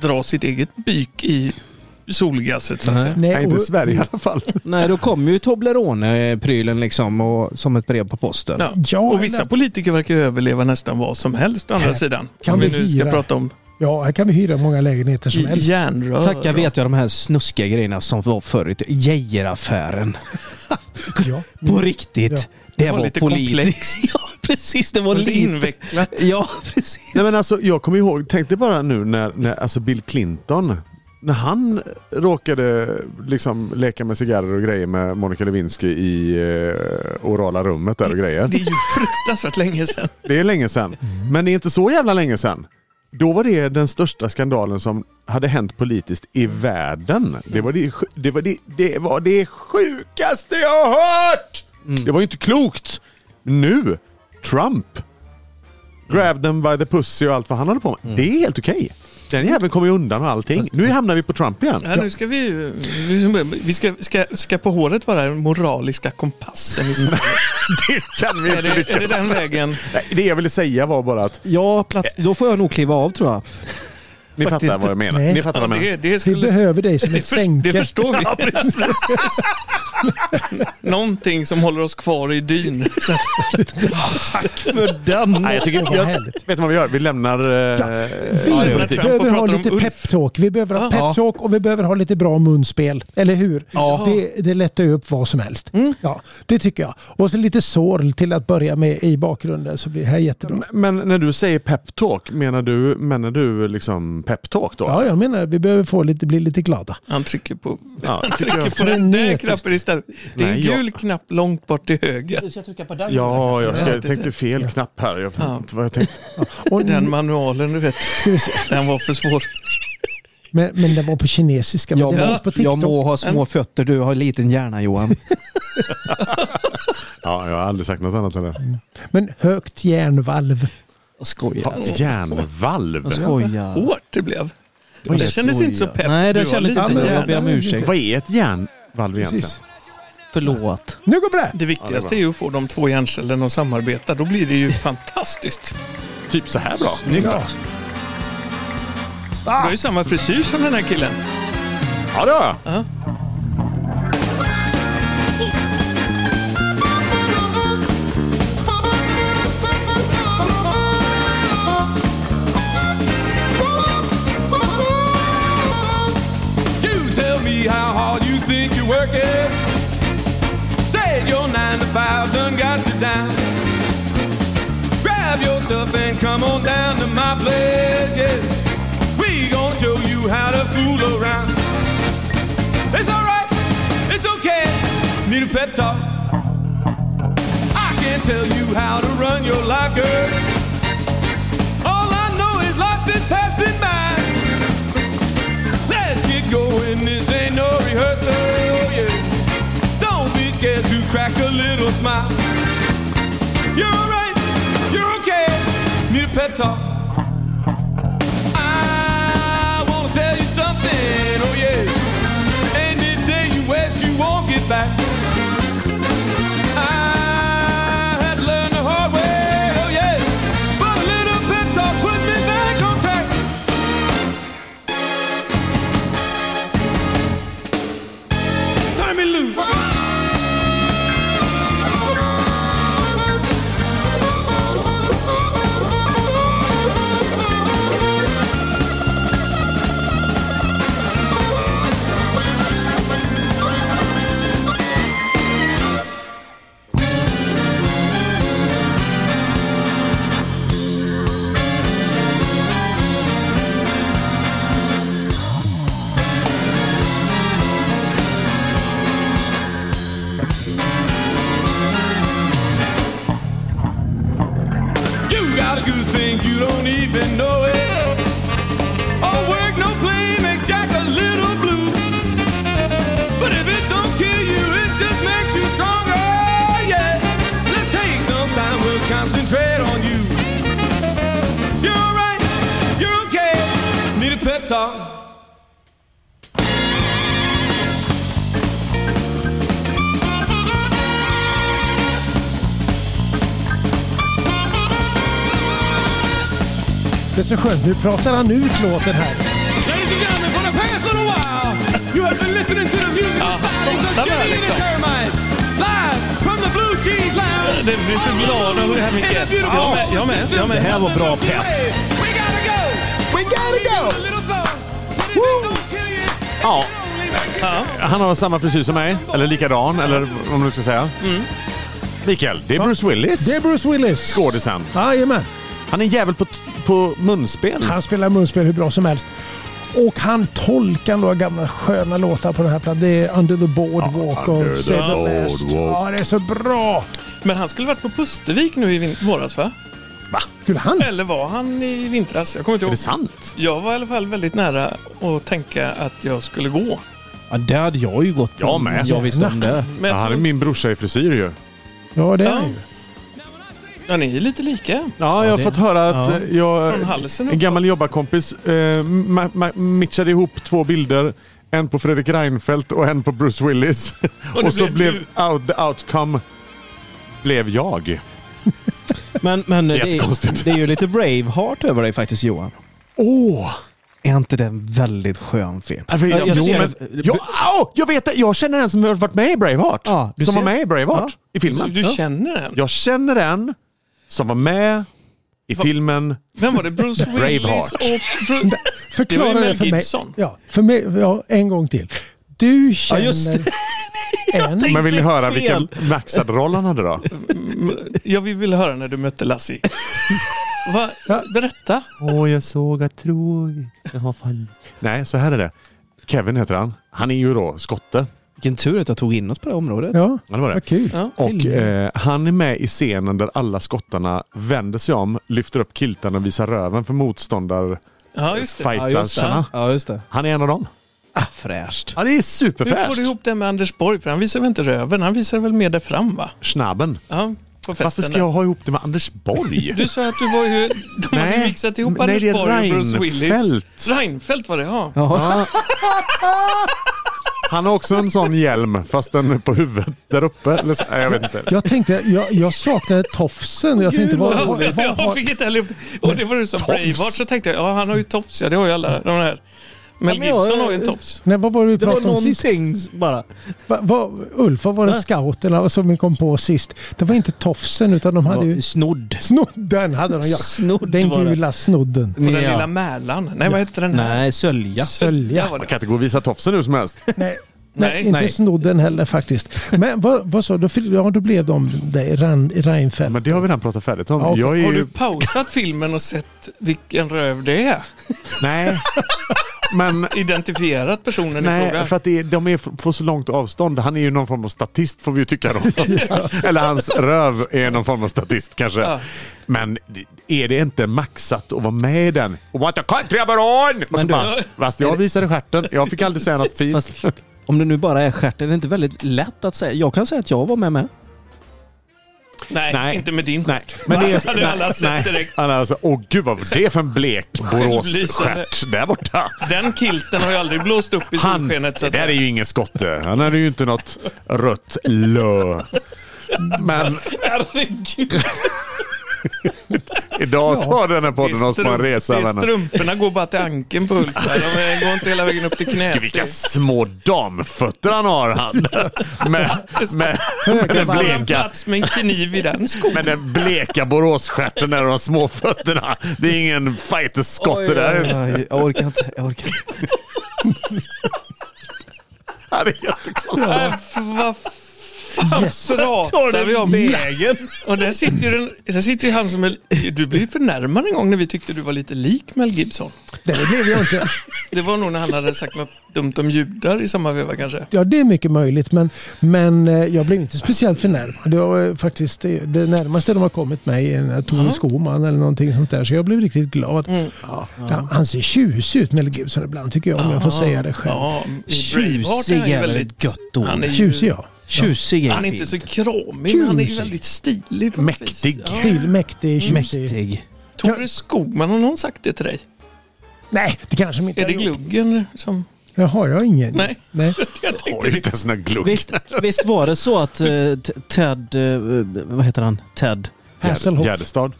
Speaker 1: dra sitt eget byk i solgasset så att
Speaker 4: Nej.
Speaker 1: säga.
Speaker 2: Nej,
Speaker 3: Nej, inte i
Speaker 2: och-
Speaker 3: Sverige i alla fall.
Speaker 4: Nej, då kommer ju Toblerone-prylen liksom och, som ett brev på posten.
Speaker 1: Ja.
Speaker 2: Ja,
Speaker 1: Och vissa politiker verkar ju överleva nästan vad som helst å andra
Speaker 2: Här
Speaker 1: sidan.
Speaker 2: kan
Speaker 1: Om vi
Speaker 2: vi
Speaker 1: nu ska
Speaker 2: hyra
Speaker 1: prata om
Speaker 2: ja, här kan vi hyra många lägenheter som helst.
Speaker 1: järnrör.
Speaker 4: Tacka vet jag de här snuskiga grejerna som var förut. Geijeraffären.
Speaker 2: Ja.
Speaker 4: På riktigt.
Speaker 2: Ja.
Speaker 4: Mm. Det,
Speaker 1: var
Speaker 4: var,
Speaker 1: lite
Speaker 4: politiskt.
Speaker 1: komplext.
Speaker 4: Ja, precis. Det var
Speaker 1: och lite
Speaker 4: lite...
Speaker 1: invecklat.
Speaker 4: Ja, precis.
Speaker 3: Nej, men alltså, jag kommer ihåg, tänk dig bara nu när, när alltså Bill Clinton när han råkade liksom leka med cigarrer och grejer med Monica Lewinsky i eh, orala rummet där och grejer.
Speaker 1: Det är ju fruktansvärt länge sedan.
Speaker 3: Det är länge sedan. Men det är inte så jävla länge sedan. Då var det den största skandalen som hade hänt politiskt i världen. Det var det, sj- det, var det, det, var det sjukaste jag har hört! Det var ju inte klokt! Nu, Trump. Grab them by the pussy och allt vad han håller på med. Det är helt okej. Den jäveln kommer ju undan med allting. Nu hamnar vi på Trump igen.
Speaker 1: Ja, nu ska vi ju- nu- Vi ska, ska, ska på håret vara den moraliska kompassen. i samhället.
Speaker 3: Det kan vi
Speaker 1: Är
Speaker 3: inte
Speaker 1: det, är det
Speaker 3: lyckas
Speaker 1: den
Speaker 3: med.
Speaker 1: vägen?
Speaker 3: Nej, Det jag ville säga var bara att
Speaker 4: Ja, plats, då får jag nog kliva av tror jag.
Speaker 3: ni fattar vad jag menar.
Speaker 2: Nej.
Speaker 3: Ni fattar
Speaker 1: Ja,
Speaker 3: vad jag menar.
Speaker 1: det, det
Speaker 2: Vi
Speaker 1: skulle,
Speaker 2: behöver dig som ett
Speaker 1: förs- det
Speaker 2: sänke.
Speaker 1: förstår vi. Någonting som håller oss kvar i dyn. Så att,
Speaker 4: Tack för den!
Speaker 3: Nej, jag tycker,
Speaker 2: Vad
Speaker 3: jag,
Speaker 2: härligt.
Speaker 3: vet du vad vi gör? Vi lämnar... eh,
Speaker 2: Vi
Speaker 1: Ja,
Speaker 3: eh,
Speaker 1: det var Trump
Speaker 2: behöver
Speaker 1: och
Speaker 2: ha
Speaker 1: pratar om
Speaker 2: lite
Speaker 1: Ulf.
Speaker 2: peptalk. Vi behöver ha
Speaker 1: Ja.
Speaker 2: peptalk och vi behöver ha lite bra munspel. Eller hur?
Speaker 4: Ja.
Speaker 2: Det, det lättar ju upp vad som helst.
Speaker 1: Mm.
Speaker 2: Ja, det tycker jag. Och så lite sorl till att börja med i bakgrunden så blir det här jättebra.
Speaker 3: Men när du säger peptalk, menar du, menar du liksom peptalk då?
Speaker 2: Ja, jag menar vi behöver få lite, bli lite glada.
Speaker 1: han trycker på,
Speaker 3: Ja,
Speaker 1: han
Speaker 3: tycker
Speaker 1: trycker
Speaker 3: jag.
Speaker 1: på den där
Speaker 2: Frenetiskt.
Speaker 1: knappen istället. Det är en
Speaker 3: Nej, jag-
Speaker 1: gul knapp långt bort till höger.
Speaker 4: Du ska trycka på den.
Speaker 3: Ja, jag, ska,
Speaker 1: Ja,
Speaker 3: jag
Speaker 1: det-
Speaker 3: tänkte fel knapp här. Jag vet
Speaker 1: Ja.
Speaker 3: inte vad jag tänkte.
Speaker 2: Och nu
Speaker 1: Den manualen, du vet,
Speaker 2: ska vi se.
Speaker 1: den var för svår.
Speaker 2: Men, men den var på kinesiska. men
Speaker 4: Jag
Speaker 2: den
Speaker 4: må,
Speaker 2: fanns på
Speaker 4: jag
Speaker 2: TikTok.
Speaker 4: må ha små fötter, du har liten hjärna Johan.
Speaker 3: Ja, jag har aldrig sagt något annat heller.
Speaker 2: Men högt järnvalv.
Speaker 4: Jag skojar.
Speaker 3: Hans järnvalv.
Speaker 4: Jag skojar.
Speaker 1: Hårt det blev.
Speaker 4: Jag
Speaker 1: det kändes inte så
Speaker 4: skojar.
Speaker 1: pepp.
Speaker 4: Nej,
Speaker 1: Du
Speaker 4: det
Speaker 1: har
Speaker 4: kändes
Speaker 1: lite
Speaker 4: inte.
Speaker 2: hjärna.
Speaker 4: Jag ber om ursäkt.
Speaker 3: Vad är ett järnvalv egentligen?
Speaker 2: Precis.
Speaker 4: Förlåt.
Speaker 2: Nu går det!
Speaker 1: Det viktigaste är ju att få de två hjärncellerna att samarbeta. Då blir det ju fantastiskt.
Speaker 3: Typ så här bra.
Speaker 2: Ja.
Speaker 1: Du har ju samma frisyr som den här killen.
Speaker 3: Ja då.
Speaker 7: You tell me how hard you think you're working. Said your nine to five done got you down. Grab your stuff and come on down to my place. Yeah, we gonna show you how to fool around. It's alright, it's okay. Need a pep talk. I can tell you how to run your life, girl. All I know is life is passing by. Let's get going, this ain't no rehearsal, yeah. Don't be scared to crack a little smile. You're alright, you're okay. Need a pep talk. I wanna tell you something, oh yeah. Any day you waste, you won't get back. I had to learn the hard way, oh yeah. But a little pep talk put me back on track. Turn me loose. You got a good thing, you don't even know it. All work, no play makes Jack a little blue. But if it don't kill you, it just makes you stronger. Yeah. Let's take some time, we'll concentrate on you. You're alright, you're okay. Need a pep talk.
Speaker 2: Det är så skönt. Nu pratar han ut låten här.
Speaker 7: Ladies and gentlemen, for the past little while, you have been listening to the music
Speaker 1: Ah,
Speaker 7: and stylings of
Speaker 1: that
Speaker 7: Jimmy
Speaker 1: makes
Speaker 7: the
Speaker 1: sense.
Speaker 7: Termite, live from the Blue Cheese Lounge.
Speaker 1: Det blir så glad över det här, Micke.
Speaker 7: In the beautiful
Speaker 1: Ja, jag med, jag med, jag med.
Speaker 7: system
Speaker 1: Det här var bra
Speaker 7: of the
Speaker 1: pepp.
Speaker 7: Milky Way. We gotta go.
Speaker 3: We gotta
Speaker 7: A little thought, but if it don't kill you, it
Speaker 3: Ja.
Speaker 7: can only make you go.
Speaker 3: Han har samma frisyr som mig. Eller likadan, eller om du ska säga. Mikael, Mm. det är Bruce Willis.
Speaker 2: Det är Bruce Willis.
Speaker 3: Skådisen.
Speaker 2: Jajamän.
Speaker 3: Han är en jävel på, t- på munspel.
Speaker 2: Han spelar munspel hur bra som helst. Och han tolkar några gamla sköna låtar på den här plattan. Det är Under the Boardwalk
Speaker 3: Ja, Under
Speaker 2: och
Speaker 3: the
Speaker 2: Save the Last.
Speaker 3: Boardwalk.
Speaker 2: Ja, det är så bra!
Speaker 1: Men han skulle varit på Pustervik nu i vin- våras va?
Speaker 2: Skulle han?
Speaker 1: Eller var han i vintras? Jag kommer inte
Speaker 3: Är
Speaker 1: ihåg.
Speaker 3: det sant?
Speaker 1: Jag var i alla fall väldigt nära att tänka att jag skulle gå.
Speaker 4: Ja, det hade jag ju gått på.
Speaker 3: Jag med.
Speaker 4: om Jag visste om det.
Speaker 1: Men
Speaker 3: Ja, han är min brorsa i frisyr ju.
Speaker 2: Ja, det är
Speaker 1: Ja.
Speaker 2: han ju.
Speaker 1: ja, ni är lite lika.
Speaker 3: Ja, jag har
Speaker 4: det-
Speaker 3: fått höra att
Speaker 4: ja.
Speaker 3: eh, jag,
Speaker 1: Från halsen
Speaker 3: en gammal jobbarkompis eh, ma- ma- mitchade ihop två bilder. En på Fredrik Reinfeldt och en på Bruce Willis.
Speaker 1: Och
Speaker 3: Och,
Speaker 1: det
Speaker 3: så
Speaker 1: blev
Speaker 3: blev out, the outcome blev jag.
Speaker 4: Men, men det, är,
Speaker 3: Jättekonstigt.
Speaker 4: det är ju lite Braveheart över dig faktiskt Johan.
Speaker 3: Åh!
Speaker 4: Är inte den väldigt skön film?
Speaker 3: Jag, vet-
Speaker 4: Ja, jag
Speaker 3: jo,
Speaker 4: ser-
Speaker 3: men, jag, au, jag vet det! Jag känner en som har varit med i Braveheart.
Speaker 4: Ja, du
Speaker 3: som var
Speaker 4: ser.
Speaker 3: med i Braveheart. I
Speaker 1: Så
Speaker 3: filmen.
Speaker 1: Du känner den?
Speaker 3: Jag känner en som var med i filmen.
Speaker 1: Vem var det? Bruce Willis
Speaker 3: Braveheart.
Speaker 1: och... Bru- Det
Speaker 2: Förklara det,
Speaker 1: var ju Mel
Speaker 2: för mig.
Speaker 1: Gibson.
Speaker 2: Ja, för mig. Ja, en gång till. Du känner
Speaker 4: just det.
Speaker 2: en...
Speaker 3: Men vill ni höra
Speaker 4: fel.
Speaker 3: vilken maxad roll han hade då?
Speaker 1: Jag vill vill höra när du mötte Lassie. Va? Berätta.
Speaker 3: Åh, jag såg att tro... jag har fan- Nej, så här är det. Kevin heter han. Han är ju då skotte.
Speaker 4: Vilken tur att jag tog in oss på det här området.
Speaker 2: Ja,
Speaker 3: Ja, det var det.
Speaker 2: vad kul.
Speaker 1: Ja.
Speaker 3: Och eh, han är med i scenen där alla skottarna vänder sig om, lyfter upp kiltarna och visar röven för motståndarfightarsarna.
Speaker 1: ja, just det.
Speaker 4: Ja, just det. Ja, just det.
Speaker 3: Han är en av dem.
Speaker 4: Ah, fräscht.
Speaker 3: Ja, det är
Speaker 1: Hur får du
Speaker 3: superfräscht.
Speaker 1: ihop det med Anders Borg? För han visar väl inte röven? Han visar väl mer där fram va?
Speaker 3: Snabben.
Speaker 1: Ja, på festen
Speaker 3: Varför ska
Speaker 1: där.
Speaker 3: jag ha ihop det med Anders Borg?
Speaker 1: Du sa att du var ju... De hade mixat ihop
Speaker 3: nej,
Speaker 1: Anders
Speaker 3: det är
Speaker 1: Borg och Bruce Willis.
Speaker 3: Reinfeldt.
Speaker 1: Reinfeldt var det ja.
Speaker 3: Han har också en sån hjälm, fast den på huvudet där uppe. Eller så, nej, jag vet inte.
Speaker 2: Jag tänkte, jag, jag saknade tofsen. Jag tänkte, vad, vad, vad,
Speaker 1: Jag
Speaker 2: har-
Speaker 1: fick inte heller upp det. Och det var du som Braveheart så tänkte jag, ja han har ju tofs ja, det har ju alla de här. Mel
Speaker 4: men jag-
Speaker 1: Gibson har ju en tofs.
Speaker 2: nej, vad var det vi
Speaker 4: Det var
Speaker 2: pratade om sist?
Speaker 4: någonting bara.
Speaker 2: Va, va, Ulf, vad var det scouterna som vi kom på sist? Det var inte tofsen utan de hade ju...
Speaker 4: Snodd.
Speaker 2: Snodden hade de ja.
Speaker 4: Snodd
Speaker 2: Den
Speaker 4: var det.
Speaker 2: gula snodden.
Speaker 1: Och den
Speaker 4: Ja.
Speaker 1: lilla Mälan. Nej vad heter den här?
Speaker 4: Nej, sölja.
Speaker 2: Sölja.
Speaker 1: Där var
Speaker 3: Man
Speaker 1: det.
Speaker 3: kan inte gå och visa tofsen nu som helst.
Speaker 2: Nej.
Speaker 1: Nej.
Speaker 2: Nej, inte
Speaker 4: Nej.
Speaker 2: snodden heller faktiskt. Men vad, vad sa du? Då fyll- Ja, då blev de dig, Ran- Reinfeldt.
Speaker 3: Men det har vi redan pratat färdigt om.
Speaker 2: Ja, okej.
Speaker 3: Jag är
Speaker 1: Har
Speaker 3: ju...
Speaker 1: du pausat filmen och sett vilken röv det är?
Speaker 3: Nej. Men...
Speaker 1: Identifierat personen i
Speaker 3: Nej,
Speaker 1: fråga?
Speaker 3: för att det är, de är f- på så långt avstånd. Han är ju någon form av statist får vi ju tycka då. Eller hans röv är någon form av statist kanske.
Speaker 1: Ja.
Speaker 3: Men är det inte maxat att vara med i den? What a country I'm on! Och så
Speaker 4: Men du-
Speaker 3: bara, fast jag visade stjärten. Jag fick aldrig säga något fint.
Speaker 4: Fast om det nu bara är stjärten, är det inte väldigt lätt att säga? Jag kan säga att jag var med med.
Speaker 1: Nej,
Speaker 3: Nej.
Speaker 1: inte med din.
Speaker 3: Nej, men det är...
Speaker 1: Hade alla sett
Speaker 3: nej,
Speaker 1: direkt.
Speaker 3: Alla har sagt, åh gud vad var det för en blek
Speaker 1: Självlysande.
Speaker 3: Boråsstjärt där borta?
Speaker 1: Den kilten har ju aldrig blåst upp i
Speaker 3: Han,
Speaker 1: solskenet. Så
Speaker 3: det
Speaker 1: att
Speaker 3: där är ju ingen skotte. Han hade ju inte något rött lö. Men
Speaker 1: Herregud.
Speaker 3: idag tar den här podden oss på en
Speaker 1: strump-
Speaker 3: resa
Speaker 1: det är
Speaker 3: vänner.
Speaker 1: strumporna går bara till ankeln på Ulf. där. De går inte hela vägen upp till knät.
Speaker 3: Gud, vilka små damfötter han har han. Med, med, med, den
Speaker 1: Det är en
Speaker 3: bleka,
Speaker 1: plats med en kniv i den skon.
Speaker 3: med den bleka Boråsstjärten där och de små fötterna. Det är ingen fighterskotte där.
Speaker 4: oj, jag orkar inte. Jag orkar inte.
Speaker 3: Han är jättekonstig.
Speaker 1: Äh, f- Vad
Speaker 2: Yes.
Speaker 1: pratar vi om?
Speaker 4: vägen?
Speaker 1: Och där sitter ju, den, där sitter ju han som är... Du blev ju förnärmad en gång när vi tyckte du var lite lik Mel Gibson.
Speaker 2: Nej, det blev jag inte.
Speaker 1: Det var nog när han hade sagt något dumt om judar i samma veva kanske.
Speaker 2: Ja, det är mycket möjligt. Men, men eh, jag blev inte speciellt förnärmad. Det var eh, faktiskt det, det närmaste de har kommit mig är den här Tore Skoman eller någonting sånt där. Så jag blev riktigt glad.
Speaker 1: Mm.
Speaker 2: Ja. Han, han ser tjusig ut, Mel Gibson, ibland tycker jag. Om jag får säga det själv.
Speaker 1: Ja, i Braveheart är
Speaker 4: Tjusig
Speaker 1: han ju
Speaker 4: är väl
Speaker 1: väldigt
Speaker 4: ett gött ord?
Speaker 1: Han är ju-
Speaker 2: Tjusig, ja.
Speaker 4: Tjusig är
Speaker 1: Han är inte så
Speaker 4: fint.
Speaker 1: kråmig, men han är ju
Speaker 2: Tjusig.
Speaker 1: väldigt stilig. på något vis.
Speaker 3: Mäktig.
Speaker 1: Ja.
Speaker 2: Stil, mäktig, tjusig.
Speaker 4: Mäktig.
Speaker 1: Tore Skogman, har någon sagt det till dig?
Speaker 2: Nej, det kanske de inte
Speaker 1: Är det
Speaker 2: har gjort.
Speaker 1: gluggen som...
Speaker 2: Det har jag ingen.
Speaker 1: Nej.
Speaker 2: Nej.
Speaker 1: Jag tänkte
Speaker 3: Har ju inte ens någon glugg.
Speaker 4: Visst, visst var det så att eh, T- Ted... eh, vad heter han? Ted
Speaker 2: Hasselhoff.
Speaker 3: Gärdestad.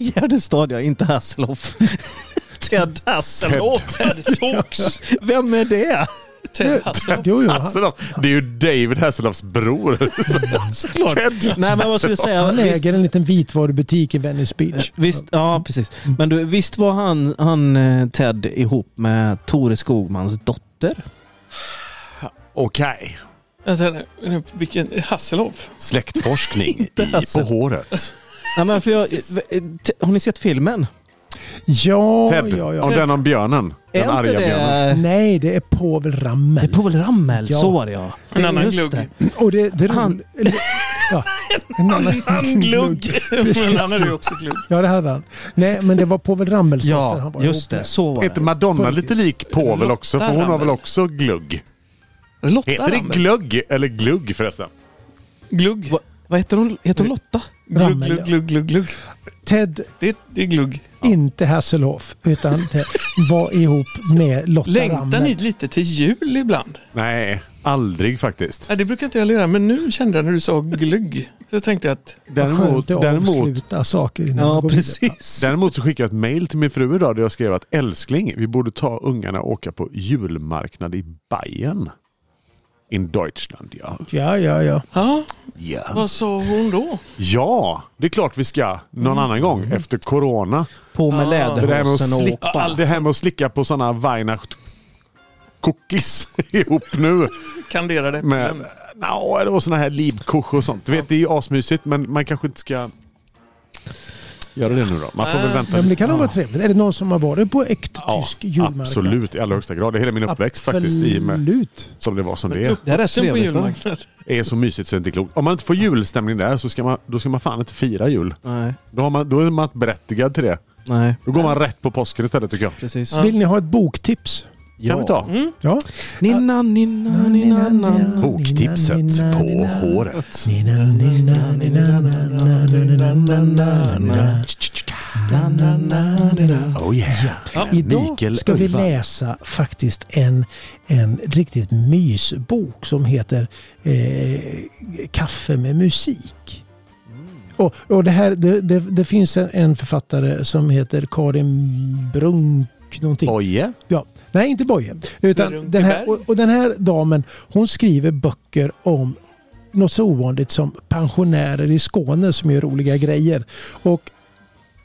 Speaker 4: Gärdestad, ja. Inte Hasselhoff. Ted Hasselhoff.
Speaker 1: Ted Talks.
Speaker 4: Vem är det?
Speaker 1: Ted Hasselhoff.
Speaker 2: Jo, jo. Han,
Speaker 3: Hasselhoff. Det är ju David Hasselhoffs bror.
Speaker 4: Såklart.
Speaker 3: Ted
Speaker 4: Nej, men vad skulle jag säga?
Speaker 2: han
Speaker 4: Visst-
Speaker 2: äger en liten vitvarubutik i Venice Beach.
Speaker 4: Visst, ja precis. Men du, visst var han, han eh, Ted ihop med Tore Skogmans dotter?
Speaker 3: Okej.
Speaker 1: Vänta, nu, Vilken... Hasselhoff?
Speaker 3: Släktforskning i,
Speaker 4: Inte
Speaker 3: på
Speaker 4: Hasselhoff.
Speaker 3: håret.
Speaker 4: Nej, men för jag, eh, t- har ni sett filmen?
Speaker 2: Ja,
Speaker 3: Ted,
Speaker 2: ja, ja.
Speaker 3: om den om björnen. Den
Speaker 4: Är
Speaker 3: arga
Speaker 4: inte
Speaker 3: björnen.
Speaker 4: det...
Speaker 2: Nej, det är Povel
Speaker 4: Det är
Speaker 2: Ramel.
Speaker 4: Povel Ramel,
Speaker 2: Ja.
Speaker 4: så var det ja.
Speaker 1: En annan
Speaker 4: Just
Speaker 1: glugg.
Speaker 4: det.
Speaker 2: Och det, det
Speaker 4: Han-
Speaker 2: eller- Ja, en annan-
Speaker 1: Han glugg. Men han hade ju också glugg.
Speaker 2: Ja, det hade han. Nej, men det var Povel Ramels dotter han
Speaker 4: Ja,
Speaker 2: var ihop
Speaker 4: just det.
Speaker 2: med.
Speaker 4: Så var
Speaker 3: Är inte
Speaker 4: det.
Speaker 3: Madonna lite lik Povel också? För hon har väl också glugg?
Speaker 1: Lotta
Speaker 3: Heter det
Speaker 1: Ramel.
Speaker 3: glugg eller glugg förresten?
Speaker 1: Glugg.
Speaker 4: Va- Vad heter hon? Heter hon Lotta?
Speaker 1: Glugg,
Speaker 2: Ramel,
Speaker 1: glugg,
Speaker 2: ja.
Speaker 1: glugg, glugg, glugg.
Speaker 2: Ted,
Speaker 1: Det, det är glugg.
Speaker 2: inte Hasselhoff, utan Ted var ihop med Lotta
Speaker 1: Längtar
Speaker 2: Ramel.
Speaker 1: ni lite till jul ibland?
Speaker 3: Nej, aldrig faktiskt.
Speaker 1: Nej, det brukar inte jag göra, men nu kände jag när du sa glugg. Så tänkte jag att
Speaker 3: Däremot,
Speaker 2: Skönt att
Speaker 3: däremot,
Speaker 2: avsluta saker innan man
Speaker 4: Ja,
Speaker 2: går vidare.
Speaker 4: precis.
Speaker 3: däremot så skickade jag ett mail till min fru idag där jag skrev att älskling, vi borde ta ungarna och åka på julmarknad i Bayern. In Deutschland, ja.
Speaker 2: Ja, ja, ja.
Speaker 1: ja,
Speaker 3: Ja,
Speaker 1: vad sa hon då?
Speaker 3: ja det är klart vi ska någon annan gång efter corona.
Speaker 4: På med
Speaker 3: För det här med att
Speaker 4: läderhosen och
Speaker 3: slicka,
Speaker 4: åk bara.
Speaker 3: det här med att slicka på sådana Weihnacht cookies ihop nu.
Speaker 1: Kanderade.
Speaker 3: Med,
Speaker 1: Men,
Speaker 3: no, eh, det var sådana här liebkuche och sånt. Du vet, det är ju asmysigt men man kanske inte ska göra det nu då. Man får väl vänta
Speaker 2: Ja, men det
Speaker 3: lite.
Speaker 2: kan nog vara trevligt. Är det någon som har varit på äkt tysk julmarknad?
Speaker 3: absolut, i allra högsta grad. Det är hela min uppväxt faktiskt i och med
Speaker 2: Absolut.
Speaker 3: som det var som det är.
Speaker 4: Det här är
Speaker 1: Sen på
Speaker 4: trevligt va?
Speaker 1: julmarknad.
Speaker 3: Det är så mysigt så det är inte är klokt. Om man inte får julstämning där så ska man, då ska man fan inte fira jul.
Speaker 4: Nej,
Speaker 3: Då, har man, då är man inte berättigad till det.
Speaker 4: nej,
Speaker 3: Då går man rätt på påsken istället tycker jag.
Speaker 4: precis.
Speaker 2: Vill ni ha ett boktips?
Speaker 3: Kan vi ta?
Speaker 2: Ja. Mm.
Speaker 4: Ninna, ninna, ninna, ninna.
Speaker 3: Boktipset på håret. Oh yeah. Mikael
Speaker 2: Idag ska vi
Speaker 3: Öjvall.
Speaker 2: läsa faktiskt en, en riktigt mysbok som heter eh, Kaffe med musik. Och, och det, här, det, det, det finns en, en författare som heter Karin Brunk någonting.
Speaker 3: Oje.
Speaker 2: Ja, nej inte Boje. Utan
Speaker 1: Runkeberg.
Speaker 2: den här, och, och den här damen hon skriver böcker om något så ovanligt som pensionärer i Skåne som gör roliga grejer. Och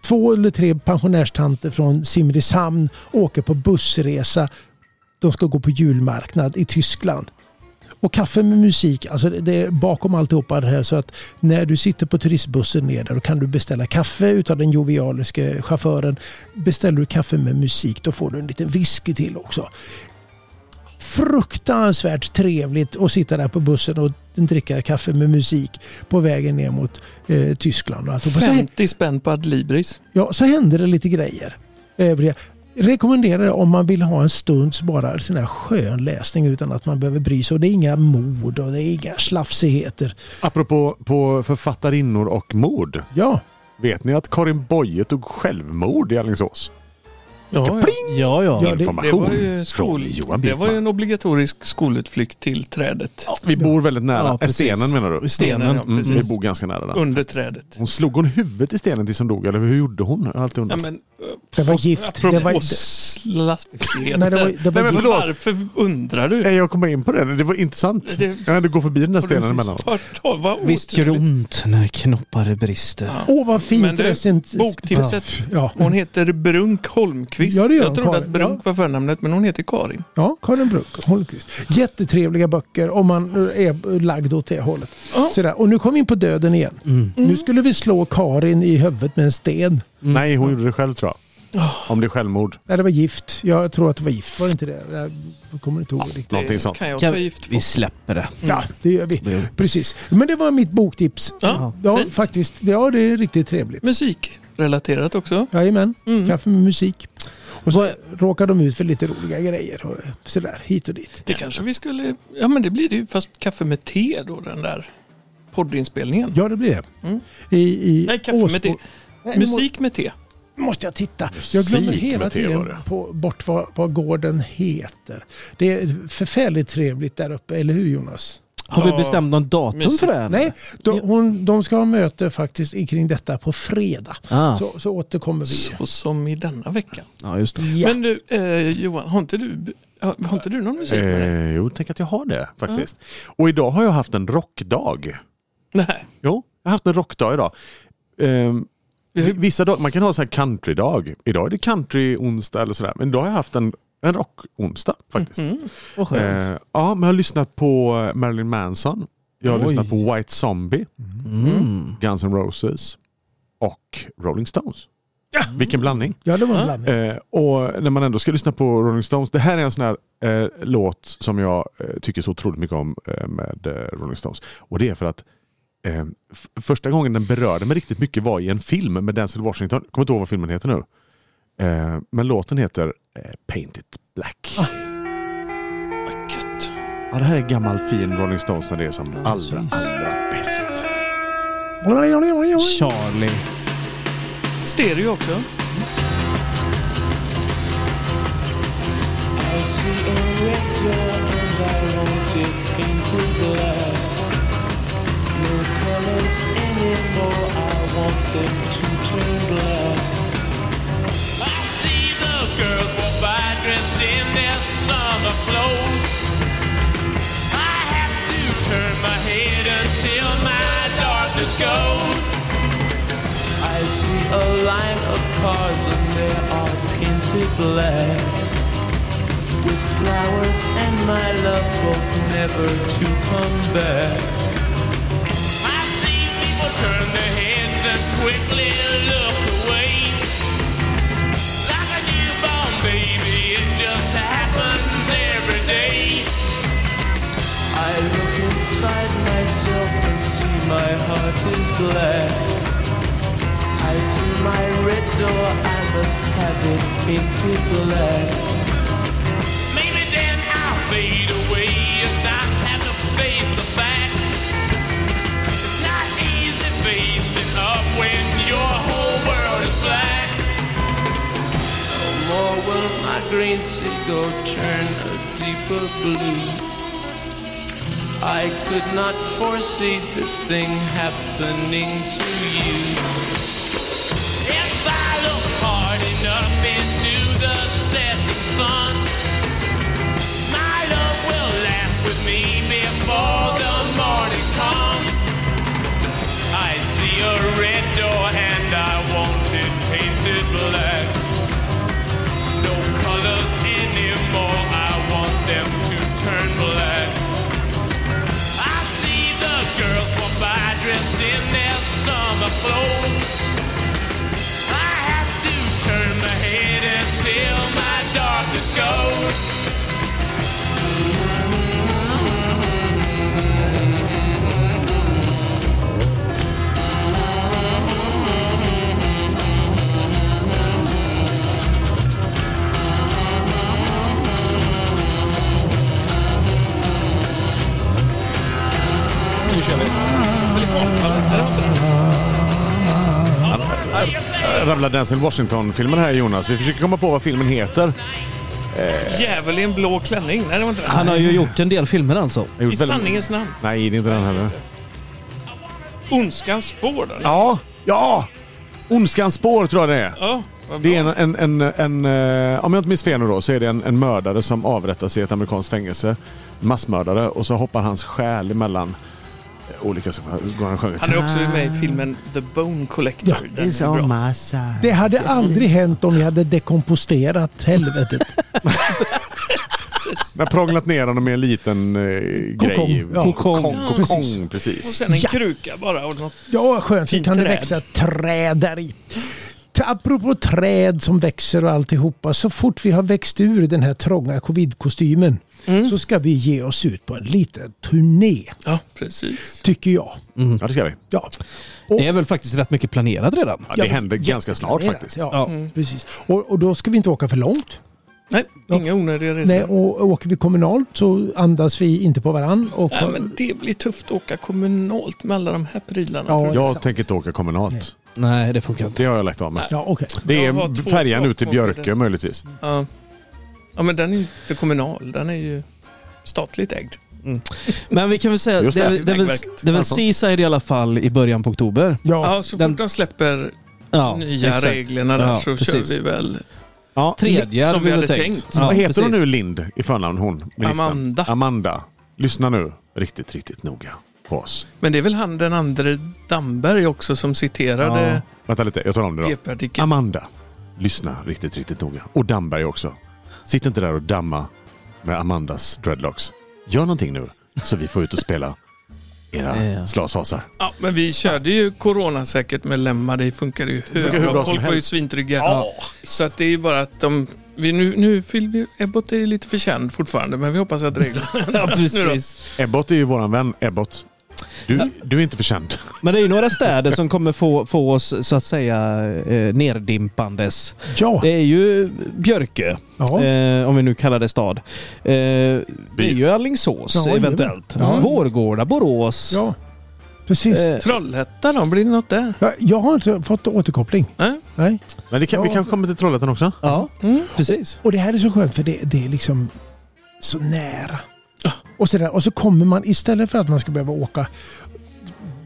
Speaker 2: två eller tre pensionärstanter från Simrishamn åker på bussresa. De ska gå på julmarknad i Tyskland. Och kaffe med musik, alltså det- det är bakom alltihopa det här så att när du sitter på turistbussen ner där då kan du beställa kaffe utav den jovialiske chauffören. Beställer du kaffe med musik då får du en liten whisky till också. Fruktansvärt trevligt att sitta där på bussen och dricka kaffe med musik på vägen ner mot eh, Tyskland. Och alltihopa. Så,
Speaker 1: 50 spänn på Adlibris.
Speaker 2: ja, så händer det lite grejer. Övriga. Rekommenderar det om man vill ha en stunds bara sån här skön läsning utan att man behöver bry sig. Och det är inga mord och det är inga slafsigheter.
Speaker 3: Apropå på författarinnor och mord.
Speaker 2: Ja,
Speaker 3: Vet ni att Karin Boye tog självmord i Alingsås?
Speaker 1: Ja, ja.
Speaker 4: Ja, ja.
Speaker 2: det-
Speaker 1: Det
Speaker 3: Information
Speaker 1: var, ju
Speaker 3: från
Speaker 1: skol,
Speaker 3: Johan
Speaker 1: det var ju
Speaker 3: Björkman.
Speaker 1: en obligatorisk skolutflykt till trädet.
Speaker 3: Vi bor väldigt nära.
Speaker 4: Ja, precis.
Speaker 3: stenen menar du?
Speaker 4: Stenen, ja,
Speaker 3: Mm, vi
Speaker 1: precis.
Speaker 3: bor ganska nära där.
Speaker 1: Under trädet.
Speaker 3: Hon slog hon huvudet i stenen tills hon dog? Eller hur gjorde hon? Jag har alltid
Speaker 1: Ja,
Speaker 3: undrat.
Speaker 1: men, eh,
Speaker 2: det var gift. Det var
Speaker 1: apropå
Speaker 2: inte...
Speaker 1: slaskigheter.
Speaker 2: Nej, det var, det
Speaker 3: Nej,
Speaker 2: var
Speaker 3: men
Speaker 2: gift.
Speaker 3: förlåt.
Speaker 1: Varför undrar du?
Speaker 3: Nej, jag kom in på det. Det var intressant.
Speaker 1: Det-
Speaker 3: Jag har ändå gått förbi den där stenen emellanåt.
Speaker 1: Tvärtom, vad
Speaker 4: Visst gör det ont när knoppar brister.
Speaker 1: Ja.
Speaker 2: Åh, vad
Speaker 1: Men
Speaker 2: fint
Speaker 1: du,
Speaker 2: recent...
Speaker 1: Boktipset.
Speaker 2: Ja.
Speaker 1: Hon heter Brunk Holmqvist.
Speaker 2: Ja, det gör hon,
Speaker 1: jag trodde
Speaker 2: Karin.
Speaker 1: att Brunk var förnamnet, men hon heter Karin.
Speaker 2: ja, Karin Brunk, Holmqvist. Jättetrevliga böcker om man är lagd åt det hållet.
Speaker 1: Ja.
Speaker 2: Sådär. Och nu kom vi in på döden igen.
Speaker 4: Mm.
Speaker 2: Nu skulle vi slå Karin i huvudet med en sten.
Speaker 3: Mm. Nej, hon gjorde det själv tror jag.
Speaker 1: Ah.
Speaker 3: Om det är självmord.
Speaker 2: Nej, det var gift. Jag tror att det var gift. Var det inte det? Jag kommer inte ihåg riktigt.
Speaker 3: Någonting sånt.
Speaker 1: kan jag
Speaker 4: Kan-
Speaker 1: ta gift på.
Speaker 4: Vi släpper det.
Speaker 2: Mm. Ja, det gör vi.
Speaker 4: Det-
Speaker 2: Precis. Men det var mitt boktips.
Speaker 1: Ja,
Speaker 2: Ja,
Speaker 1: fint.
Speaker 2: faktiskt. Ja, det är riktigt trevligt.
Speaker 1: Musikrelaterat också.
Speaker 2: Jajamän.
Speaker 1: Mm.
Speaker 2: Kaffe med musik. Och så råkar de ut för lite roliga grejer. Och eh, sådär, hit och dit.
Speaker 1: Det kanske vi skulle... Ja, men det blir det ju. Fast kaffe med te då, den där poddinspelningen.
Speaker 2: Ja, det blir det.
Speaker 1: Mm.
Speaker 2: I, i
Speaker 1: Nej, kaffe med te.
Speaker 2: Åsbo- Nej, nu må-
Speaker 1: Musik med te.
Speaker 2: måste jag titta. Jag glömmer
Speaker 3: Musik
Speaker 2: hela
Speaker 3: med te var
Speaker 2: tiden
Speaker 3: det.
Speaker 2: på, bort vad, vad gården heter. Det är förfärligt trevligt där uppe, eller hur Jonas?
Speaker 4: Har vi
Speaker 1: Ja,
Speaker 4: bestämt någon datum
Speaker 1: mysigt.
Speaker 4: för det? här?
Speaker 2: Nej, de, hon, de ska ha möte faktiskt i- kring detta på fredag.
Speaker 4: Ah,
Speaker 2: Så, så återkommer vi.
Speaker 1: Så som i denna veckan.
Speaker 4: ja, just det.
Speaker 2: Ja.
Speaker 1: Men du, eh, Johan, har inte du, har inte du någon musik med dig?
Speaker 3: Eh, jo, tänk att jag har det faktiskt. Och idag har jag haft en rockdag.
Speaker 1: Nej.
Speaker 3: Jo, jag har haft en rockdag idag. Ehm, vissa dagar, man kan ha så här countrydag. Idag är det country-onsdag eller sådär. Men idag har jag haft en, en rock-onsdag faktiskt.
Speaker 4: Vad Mm, skönt.
Speaker 3: Eh, ja, men jag har lyssnat på eh, Marilyn Manson. Jag har
Speaker 4: Oj.
Speaker 3: lyssnat på White Zombie,
Speaker 4: Mm.
Speaker 3: Guns N' Roses och Rolling Stones. Vilken blandning.
Speaker 2: Ja, det var en blandning.
Speaker 3: Eh, och när man ändå ska lyssna på Rolling Stones. Det här är en sån här eh, låt som jag eh, tycker så otroligt mycket om eh, med eh, Rolling Stones. Och det är för att eh, f- första gången den berörde mig riktigt mycket var i en film med Denzel Washington. Kommer inte ihåg vad filmen heter nu. Eh, men låten heter eh, Paint It Black.
Speaker 1: Ah. Vad gött.
Speaker 3: Ja, det här är gammal fin Rolling Stones när det är som allra, allra bäst.
Speaker 4: Charlie.
Speaker 1: Stereo också.
Speaker 5: I see the girls walk by dressed in their summer clothes. I have to turn my head until my darkness goes.
Speaker 8: I see a line of cars and they are painted black With flowers and my love hope never to come back
Speaker 5: I see people turn their heads and quickly look away. Like a newborn baby, it just happens every day.
Speaker 8: I look inside myself and see my heart is black I see my red door, I must have it painted black
Speaker 5: Maybe then I'll fade away if I have to face the facts. It's not easy facing up when your whole world is black.
Speaker 8: No more will my green seagull turn a deeper blue. I could not foresee this thing happening to you.
Speaker 5: If I look hard enough into the setting sun, my love will laugh with me before the morning comes. I see a red door and I want it painted black. No colors anymore, I want them to turn black. I see the girls walk by dressed in their summer clothes. I have to turn my head until my darkness goes.
Speaker 1: Nu kör vi. Eller kom. Eller, vänta nu.
Speaker 3: Rabbla Denzel Washington-filmen här Jonas. Vi försöker komma på vad filmen heter.
Speaker 1: Djävul i en blå klänning. Nej, det var inte
Speaker 4: Han
Speaker 1: den.
Speaker 4: har ju gjort en del filmer alltså.
Speaker 3: Jag har gjort
Speaker 1: I
Speaker 3: väldigt-
Speaker 1: sanningens namn.
Speaker 3: Nej, det är inte den heller.
Speaker 1: Ondskans spår. Där.
Speaker 3: Ja, ja! Ondskans spår tror jag det är.
Speaker 1: Ja, vad
Speaker 3: Det
Speaker 1: bra.
Speaker 3: är en, en, en, en eh, om jag inte minns fel nu då, så är det en, en mördare som avrättas i ett amerikanskt fängelse. Massmördare. Och så hoppar hans själ emellan eh, olika saker. Går han och sjunger.
Speaker 1: Han är också med i filmen The Bone Collector.
Speaker 2: Ja,
Speaker 1: Den är bra.
Speaker 2: Det hade aldrig hänt om vi hade dekomposterat helvetet.
Speaker 3: Han har prånglat ner honom i en liten eh, grej.
Speaker 2: ja.
Speaker 3: Kokong.
Speaker 2: Ja,
Speaker 3: kokong,
Speaker 2: precis.
Speaker 1: Och
Speaker 3: precis.
Speaker 1: sen en
Speaker 2: Ja.
Speaker 1: kruka bara. Och något.
Speaker 2: Ja, skönt. Så
Speaker 1: Fint
Speaker 2: kan det
Speaker 1: träd.
Speaker 2: växa träd där i. Ta- Apropå träd som växer och alltihopa. Så fort vi har växt ur den här trånga covid-kostymen så ska vi ge oss ut på en liten turné,
Speaker 1: Ja, precis.
Speaker 2: tycker jag.
Speaker 3: Ja, det ska vi.
Speaker 2: Ja,
Speaker 4: Det är väl faktiskt rätt mycket planerat redan.
Speaker 3: Ja, det händer ganska snart
Speaker 2: planerat.
Speaker 3: faktiskt.
Speaker 2: Ja, precis. Och, och då ska vi inte åka för långt.
Speaker 1: Nej, inga onödiga resor.
Speaker 2: Nej, och åker vi kommunalt så andas vi inte på varann. Och,
Speaker 1: Nej, men det blir tufft att åka kommunalt med alla de här prylarna.
Speaker 2: Ja,
Speaker 1: tror jag.
Speaker 3: Jag
Speaker 2: sant.
Speaker 3: tänker inte åka kommunalt.
Speaker 4: Nej, det funkar inte.
Speaker 3: Det har jag lagt av med.
Speaker 2: Ja, okej.
Speaker 3: Det
Speaker 1: Jag har
Speaker 3: är
Speaker 1: två
Speaker 3: färjan
Speaker 1: flock
Speaker 3: ut till
Speaker 1: på Mm. bilden.
Speaker 3: Björkö möjligtvis.
Speaker 1: Ja. ja, men den är inte kommunal. Den är ju statligt ägd.
Speaker 4: Men vi kan väl säga,
Speaker 3: Just
Speaker 4: det,
Speaker 3: det. Alltså.
Speaker 4: är väl- det, är väl-
Speaker 1: Vägverket.
Speaker 4: det är väl Seaside i alla fall i början på oktober.
Speaker 2: Ja.
Speaker 1: Ja, så fort
Speaker 4: den-
Speaker 1: de släpper
Speaker 4: Ja,
Speaker 1: nya
Speaker 4: exakt.
Speaker 1: reglerna där
Speaker 4: Ja,
Speaker 1: så
Speaker 4: precis.
Speaker 1: kör vi väl
Speaker 3: Ja.
Speaker 4: Tredje
Speaker 1: Som
Speaker 4: hade
Speaker 1: vi
Speaker 4: väl
Speaker 1: hade tänkt.
Speaker 4: Ja,
Speaker 3: Vad heter hon
Speaker 4: precis.
Speaker 3: nu Lind i förnamn hon? ministern?
Speaker 1: Amanda.
Speaker 3: Amanda. Lyssna nu riktigt, riktigt noga på oss.
Speaker 1: Men det är väl han den andre Damberg också som citerade
Speaker 3: Vänta lite, jag tar om det då.
Speaker 1: GP-artikeln.
Speaker 3: Amanda. Lyssna riktigt, riktigt noga. Och Damberg också. Sitt inte där och damma med Amandas dreadlocks. Gör någonting nu så vi får ut och spela. Era
Speaker 4: Ja.
Speaker 3: slashasar.
Speaker 1: Ja, men vi körde ju coronasäkert med Lemma. Det funkade ju hur,
Speaker 3: funkar hur bra som
Speaker 1: Folk var ju
Speaker 3: helst.
Speaker 1: svintrygga. Så att det är ju bara att de... Vi nu, nu vill vi, Ebbot är lite förkänd fortfarande, men vi hoppas att reglerna...
Speaker 4: Ja,
Speaker 1: precis.
Speaker 3: Ebbot är ju våran vän. Ebbot. Du, du är inte förkänd.
Speaker 4: Men det är ju några städer som kommer få, få oss så att säga eh, neddimpandes.
Speaker 2: Ja.
Speaker 4: Det är ju Björkö,
Speaker 2: Ja.
Speaker 4: eh, om vi nu kallar det stad. Eh, det är ju Alingsås
Speaker 2: Ja,
Speaker 4: eventuellt.
Speaker 2: jajamän. Ja.
Speaker 4: Vårgårda, Borås.
Speaker 2: ja. Precis.
Speaker 4: Eh,
Speaker 1: Trollhättan då? Blir det något där?
Speaker 2: Jag, jag har inte fått återkoppling.
Speaker 1: Nej?
Speaker 2: Nej.
Speaker 3: Men det kan, vi
Speaker 2: Ja.
Speaker 3: kanske kommer till Trollhättan också.
Speaker 4: ja,
Speaker 1: Mm.
Speaker 4: precis.
Speaker 2: Och det här är så skönt för det, det är liksom så nära.
Speaker 4: Ah.
Speaker 2: Och så, där, och så kommer man istället för att man ska behöva åka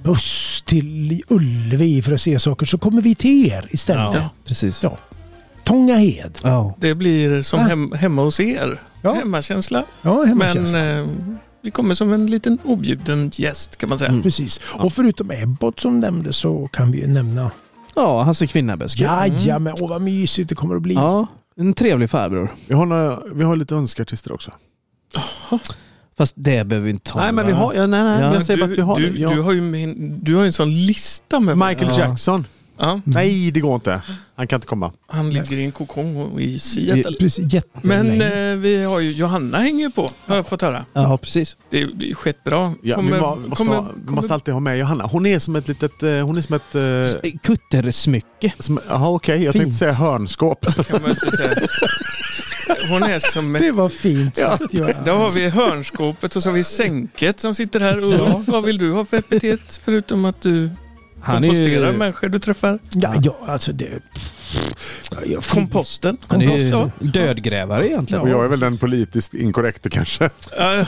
Speaker 2: buss till Ullevi för att se saker så kommer vi till er istället.
Speaker 4: Ja, precis.
Speaker 2: Ja. Tångahed.
Speaker 4: Ja.
Speaker 1: Det blir som
Speaker 2: Ja.
Speaker 1: hem, hemma hos er.
Speaker 2: Ja.
Speaker 1: Hemmakänsla.
Speaker 2: Ja, hemmakänsla.
Speaker 1: Men eh, vi kommer som en liten objuden gäst kan man säga.
Speaker 3: Mm.
Speaker 2: Precis. Och förutom Ebbot som nämndes så kan vi ju nämna
Speaker 4: ja, Hasse Kvinnaböske.
Speaker 2: Jajamän, åh vad mysigt det kommer att bli.
Speaker 4: Ja, en trevlig farbror.
Speaker 3: Vi har, några, vi har lite önskartister också.
Speaker 4: Fast det behöver vi inte ta.
Speaker 3: nej, men vi
Speaker 4: va?
Speaker 3: har... Ja, nej, nej,
Speaker 4: Ja.
Speaker 3: jag säger
Speaker 1: du,
Speaker 3: bara att vi har...
Speaker 1: du,
Speaker 3: ja.
Speaker 1: du har ju min, du har ju en sån lista med
Speaker 3: Michael Jackson.
Speaker 1: Ja,
Speaker 3: Nej, det går inte. Han kan inte komma.
Speaker 1: han ligger i en kokong och i
Speaker 2: Det-
Speaker 1: Seattle.
Speaker 2: Precis, jättelänge.
Speaker 1: Men eh, vi har ju, Johanna hänger ju på har jag fått höra.
Speaker 4: Ja, precis.
Speaker 1: Det har skett bra.
Speaker 3: Ja, vi må, måste, ha, måste alltid ha med Johanna. Hon är som ett litet... eh, Hon är som ett... eh,
Speaker 4: Kuttersmycke.
Speaker 3: som- Jaha, okej. Jag
Speaker 2: Fint.
Speaker 3: tänkte säga hörnskåp.
Speaker 1: kan man inte säga. Hon är som ett...
Speaker 2: Det var fint sagt Göran.
Speaker 1: Då har vi hörnskåpet och så har vi sänket som sitter här. Och Ulf, vad vill du ha för epitet förutom att du
Speaker 4: Han är
Speaker 1: komposterar
Speaker 4: ju...
Speaker 1: människor du träffar?
Speaker 2: Ja, ja, alltså det... Ja, jag-
Speaker 1: Komposten.
Speaker 4: Han är ju
Speaker 1: Ja.
Speaker 4: dödgrävare egentligen.
Speaker 3: Och jag är väl den politiskt inkorrekta kanske.
Speaker 1: Eh,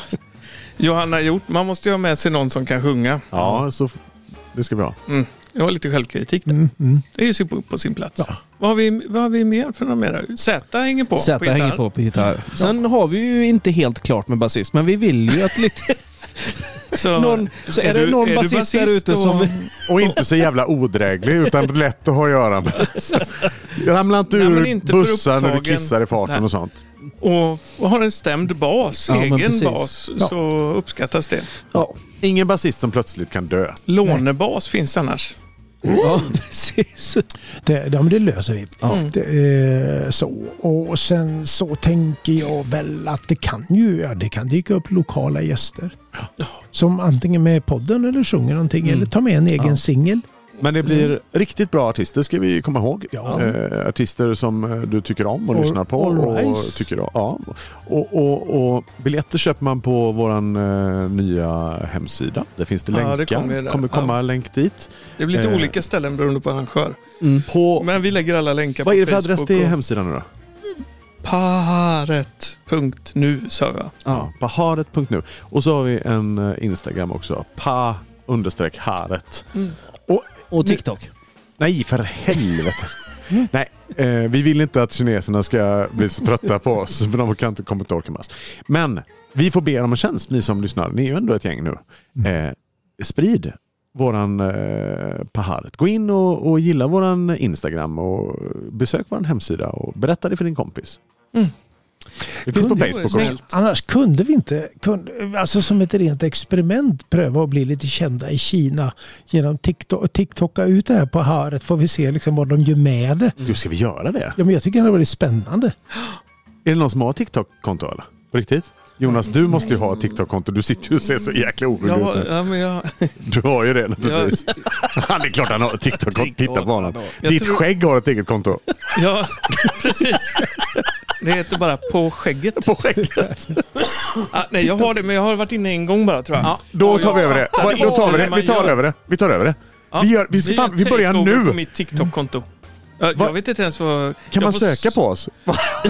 Speaker 1: Johanna Hjort, man måste ju ha med sig någon som kan sjunga.
Speaker 3: Ja, så f- det ska vi ha.
Speaker 1: Jag har lite självkritik där.
Speaker 2: Mm, mm.
Speaker 1: Det är ju på, på sin plats. Vad, har vi, vad har vi mer för några mer? Zäta hänger på.
Speaker 4: Zäta
Speaker 1: gitarr.
Speaker 4: hänger på på gitarr. Sen har vi ju inte helt klart med basist, men vi vill ju att lite...
Speaker 1: Så,
Speaker 4: Någon, så är, det
Speaker 1: du-
Speaker 4: någon
Speaker 1: är du
Speaker 4: basist där ute
Speaker 1: och-
Speaker 4: som...
Speaker 3: Och inte så jävla odräglig, utan lätt att ha att göra med. Ramla inte
Speaker 1: Nej, men
Speaker 3: ur
Speaker 1: inte för
Speaker 3: bussar när du
Speaker 1: upptagen.
Speaker 3: kissar i farten
Speaker 1: Nej.
Speaker 3: och sånt.
Speaker 1: Och, och har en stämd bas,
Speaker 4: Ja, men
Speaker 1: egen
Speaker 4: precis.
Speaker 1: bas, så uppskattas det.
Speaker 4: Ja,
Speaker 3: Ingen basist som plötsligt kan dö.
Speaker 1: Lånebas finns annars.
Speaker 4: ja precis.
Speaker 2: Det, ja, men det löser vi. Det, eh, så. Och sen så tänker jag väl att det kan ju ja, det kan dyka upp lokala gäster. Som antingen med podden eller sjunger någonting eller tar med en egen singel.
Speaker 3: Men det blir riktigt bra artister ska vi komma ihåg.
Speaker 2: Ja.
Speaker 3: Eh, artister som eh, du tycker om och
Speaker 2: All-
Speaker 3: lyssnar på.
Speaker 2: all
Speaker 3: Och,
Speaker 2: right.
Speaker 3: tycker, om. ja. och, och, och Biljetter köper man på vår eh, nya hemsida. Där finns det
Speaker 1: Ja, det
Speaker 3: länkar.
Speaker 1: kommer ju där.
Speaker 3: komma
Speaker 1: Ja.
Speaker 3: länk dit.
Speaker 1: Det blir lite
Speaker 3: Eh.
Speaker 1: olika ställen beroende på arrangör.
Speaker 3: På,
Speaker 1: Men vi lägger alla länkar
Speaker 3: vad
Speaker 1: på
Speaker 3: är det för adress
Speaker 1: Facebook.
Speaker 3: till
Speaker 1: och-
Speaker 3: hemsidan nu då?
Speaker 1: Paret.nu sa jag.
Speaker 3: Ja, paharet.nu. Och så har vi en eh, Instagram också. Pa understreck haret.
Speaker 4: Och TikTok.
Speaker 3: Nej, för helvete. Nej, eh, vi vill inte att kineserna ska bli så trötta på oss för de kan inte, kommer inte orka med oss. Men vi får be er om en tjänst, ni som lyssnar. Ni är ju ändå ett gäng nu. Eh, sprid våran eh, Paharet. Gå in och, och gilla våran Instagram och besök våran hemsida och berätta det för din kompis.
Speaker 1: Mm.
Speaker 3: Det finns på
Speaker 2: Kunde ju
Speaker 3: Facebook
Speaker 1: vara
Speaker 3: också.
Speaker 1: snällt.
Speaker 2: Annars kunde vi inte, kunde, alltså som ett rent experiment, pröva att bli lite kända i Kina genom TikTok, TikToka ut det här på haret. Får vi se liksom vad de gör med det.
Speaker 3: Du, ska vi göra det?
Speaker 2: Ja, men jag tycker det hade varit spännande.
Speaker 3: Är det någon som har TikTok-konto eller? På riktigt? Jonas, du måste ju ha ett TikTok-konto. Du sitter ju och ser så jäkla oskyldig ut
Speaker 1: Ja,
Speaker 3: nu.
Speaker 1: ja, men jag,
Speaker 3: Du har ju det naturligtvis. Han är klart han har ett TikTok-konto. Titta på honom. Ditt
Speaker 1: tror-
Speaker 3: skägg har ett eget konto.
Speaker 1: ja, precis. Det heter bara På skägget.
Speaker 3: På skägget.
Speaker 1: Ah, nej, jag har det, men jag har varit inne en gång bara tror jag. Ja,
Speaker 3: Då tar vi över det. Va- Då tar vi det. Vi tar över det. Vi tar över det. Vi, gör, vi, ska, fan, vi börjar
Speaker 1: på
Speaker 3: nu.
Speaker 1: mitt TikTok-konto. Ja, Jag vet inte ens
Speaker 3: Kan
Speaker 1: vad... jag
Speaker 3: man
Speaker 1: får
Speaker 3: söka
Speaker 1: s- Alltså-
Speaker 3: på oss? Va-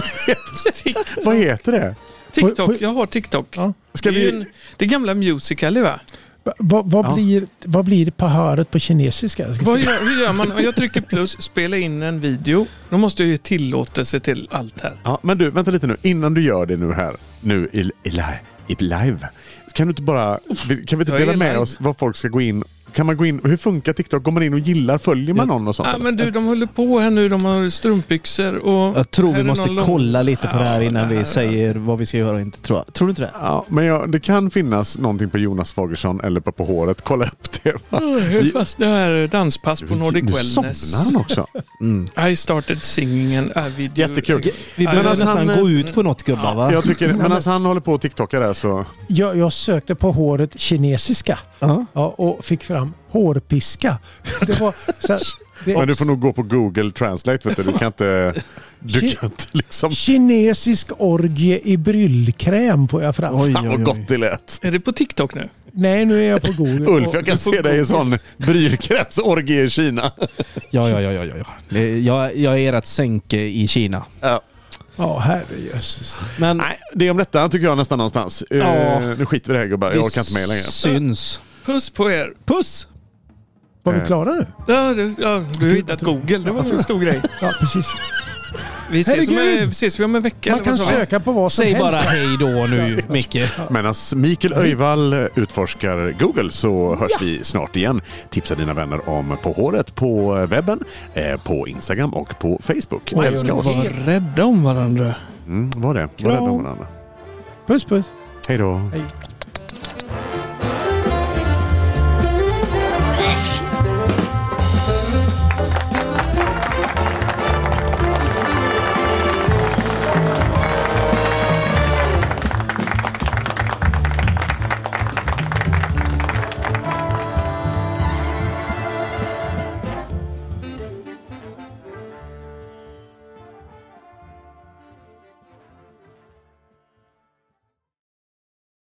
Speaker 1: Tik-
Speaker 3: Vad heter det?
Speaker 2: På-
Speaker 1: TikTok,
Speaker 2: på-
Speaker 1: jag har TikTok.
Speaker 3: Ska
Speaker 1: det, är ju
Speaker 3: vi-
Speaker 1: en, det är gamla Musical.ly va?
Speaker 2: Va, va, vad,
Speaker 3: Ja.
Speaker 2: blir, vad blir paharet på kinesiska? Jag ska
Speaker 1: Vad
Speaker 2: se.
Speaker 1: gör, hur gör man? Om jag trycker plus, spela in en video. Då måste jag ge tillåtelse till allt här.
Speaker 3: Ja, men du, vänta lite nu. Innan du gör det nu här, nu i, i, li- i live. Kan du inte bara... Kan vi inte
Speaker 1: jag
Speaker 3: dela
Speaker 1: är
Speaker 3: med
Speaker 1: live.
Speaker 3: oss vad folk ska gå in Kan man gå in, hur funkar TikTok? Går man in och gillar? Följer man någon och sånt?
Speaker 1: Ja, men du, de håller på här nu. De har strumpbyxor och...
Speaker 4: Jag tror
Speaker 1: Här
Speaker 4: vi
Speaker 1: är
Speaker 4: måste
Speaker 1: någon lång-
Speaker 4: kolla lite på det här
Speaker 1: Ja,
Speaker 4: innan
Speaker 1: det
Speaker 4: vi
Speaker 1: här-
Speaker 4: säger vad vi ska göra och inte. Tror, jag. tror du inte det?
Speaker 3: Ja, men jag, det kan finnas någonting på Jonas Fagersson eller på, på håret. Kolla upp det. va?
Speaker 1: Hur fast det här danspass på Nordic
Speaker 3: nu somnar
Speaker 1: Wellness.
Speaker 3: han också.
Speaker 1: I started singing and I video.
Speaker 3: Jättekul.
Speaker 4: Vi behöver
Speaker 3: alltså,
Speaker 4: nästan
Speaker 3: han-
Speaker 4: gå ut på något gubbar va?
Speaker 3: Jag tycker, medan han håller på och TikTokar där så...
Speaker 2: Jag, jag sökte på håret kinesiska
Speaker 4: Ja.
Speaker 2: ja, och fick fram hårpiska. Det var så här, det,
Speaker 3: Men du får nog gå på Google Translate. Vet du. du kan inte... Du
Speaker 2: Shit.
Speaker 3: kan inte liksom...
Speaker 2: Kinesisk orgie i bryllkräm får jag fram.
Speaker 4: Oj,
Speaker 3: Fan
Speaker 4: oj,
Speaker 3: vad
Speaker 4: oj.
Speaker 3: gott det lät.
Speaker 1: Är det på TikTok nu?
Speaker 2: Nej, nu är jag på Google.
Speaker 3: Ulf,
Speaker 2: Och-
Speaker 3: jag kan se dig i sån brylkrämsorgie i Kina.
Speaker 4: Ja, ja, ja, ja, ja, ja. Det- Jag, jag är ert sänke i Kina.
Speaker 3: Ja.
Speaker 2: Ja, herrejösses.
Speaker 4: Men
Speaker 3: Nej, det är om detta tycker jag nästan någonstans. Eh,
Speaker 4: Ja.
Speaker 3: nu skiter vi i det här gubbar, jag orkar inte med längre.
Speaker 4: syns.
Speaker 1: Puss på er.
Speaker 4: Puss!
Speaker 2: Var vi
Speaker 3: Eh.
Speaker 2: klara nu?
Speaker 1: Ja, du, ja, du har hittat Google. Det var en stor grej.
Speaker 2: Ja, precis.
Speaker 1: Vi ses, om,
Speaker 2: Herregud!
Speaker 1: ses vi om en vecka.
Speaker 2: Man
Speaker 1: eller
Speaker 2: kan
Speaker 1: vad sa vi?
Speaker 2: söka på vad som
Speaker 4: Säg
Speaker 2: helst.
Speaker 4: bara hej då nu, Micke.
Speaker 3: Medan Mikael Öjvall utforskar Google så hörs vi snart igen. Tipsa dina vänner om På håret på webben, eh, på Instagram och på Facebook.
Speaker 2: Oj,
Speaker 3: Älska
Speaker 2: oj,
Speaker 3: oss.
Speaker 2: oj.
Speaker 1: Var rädda om varandra.
Speaker 3: Mm, var det. Var rädda om varandra.
Speaker 2: Puss, puss.
Speaker 3: Hej då.
Speaker 2: Hej.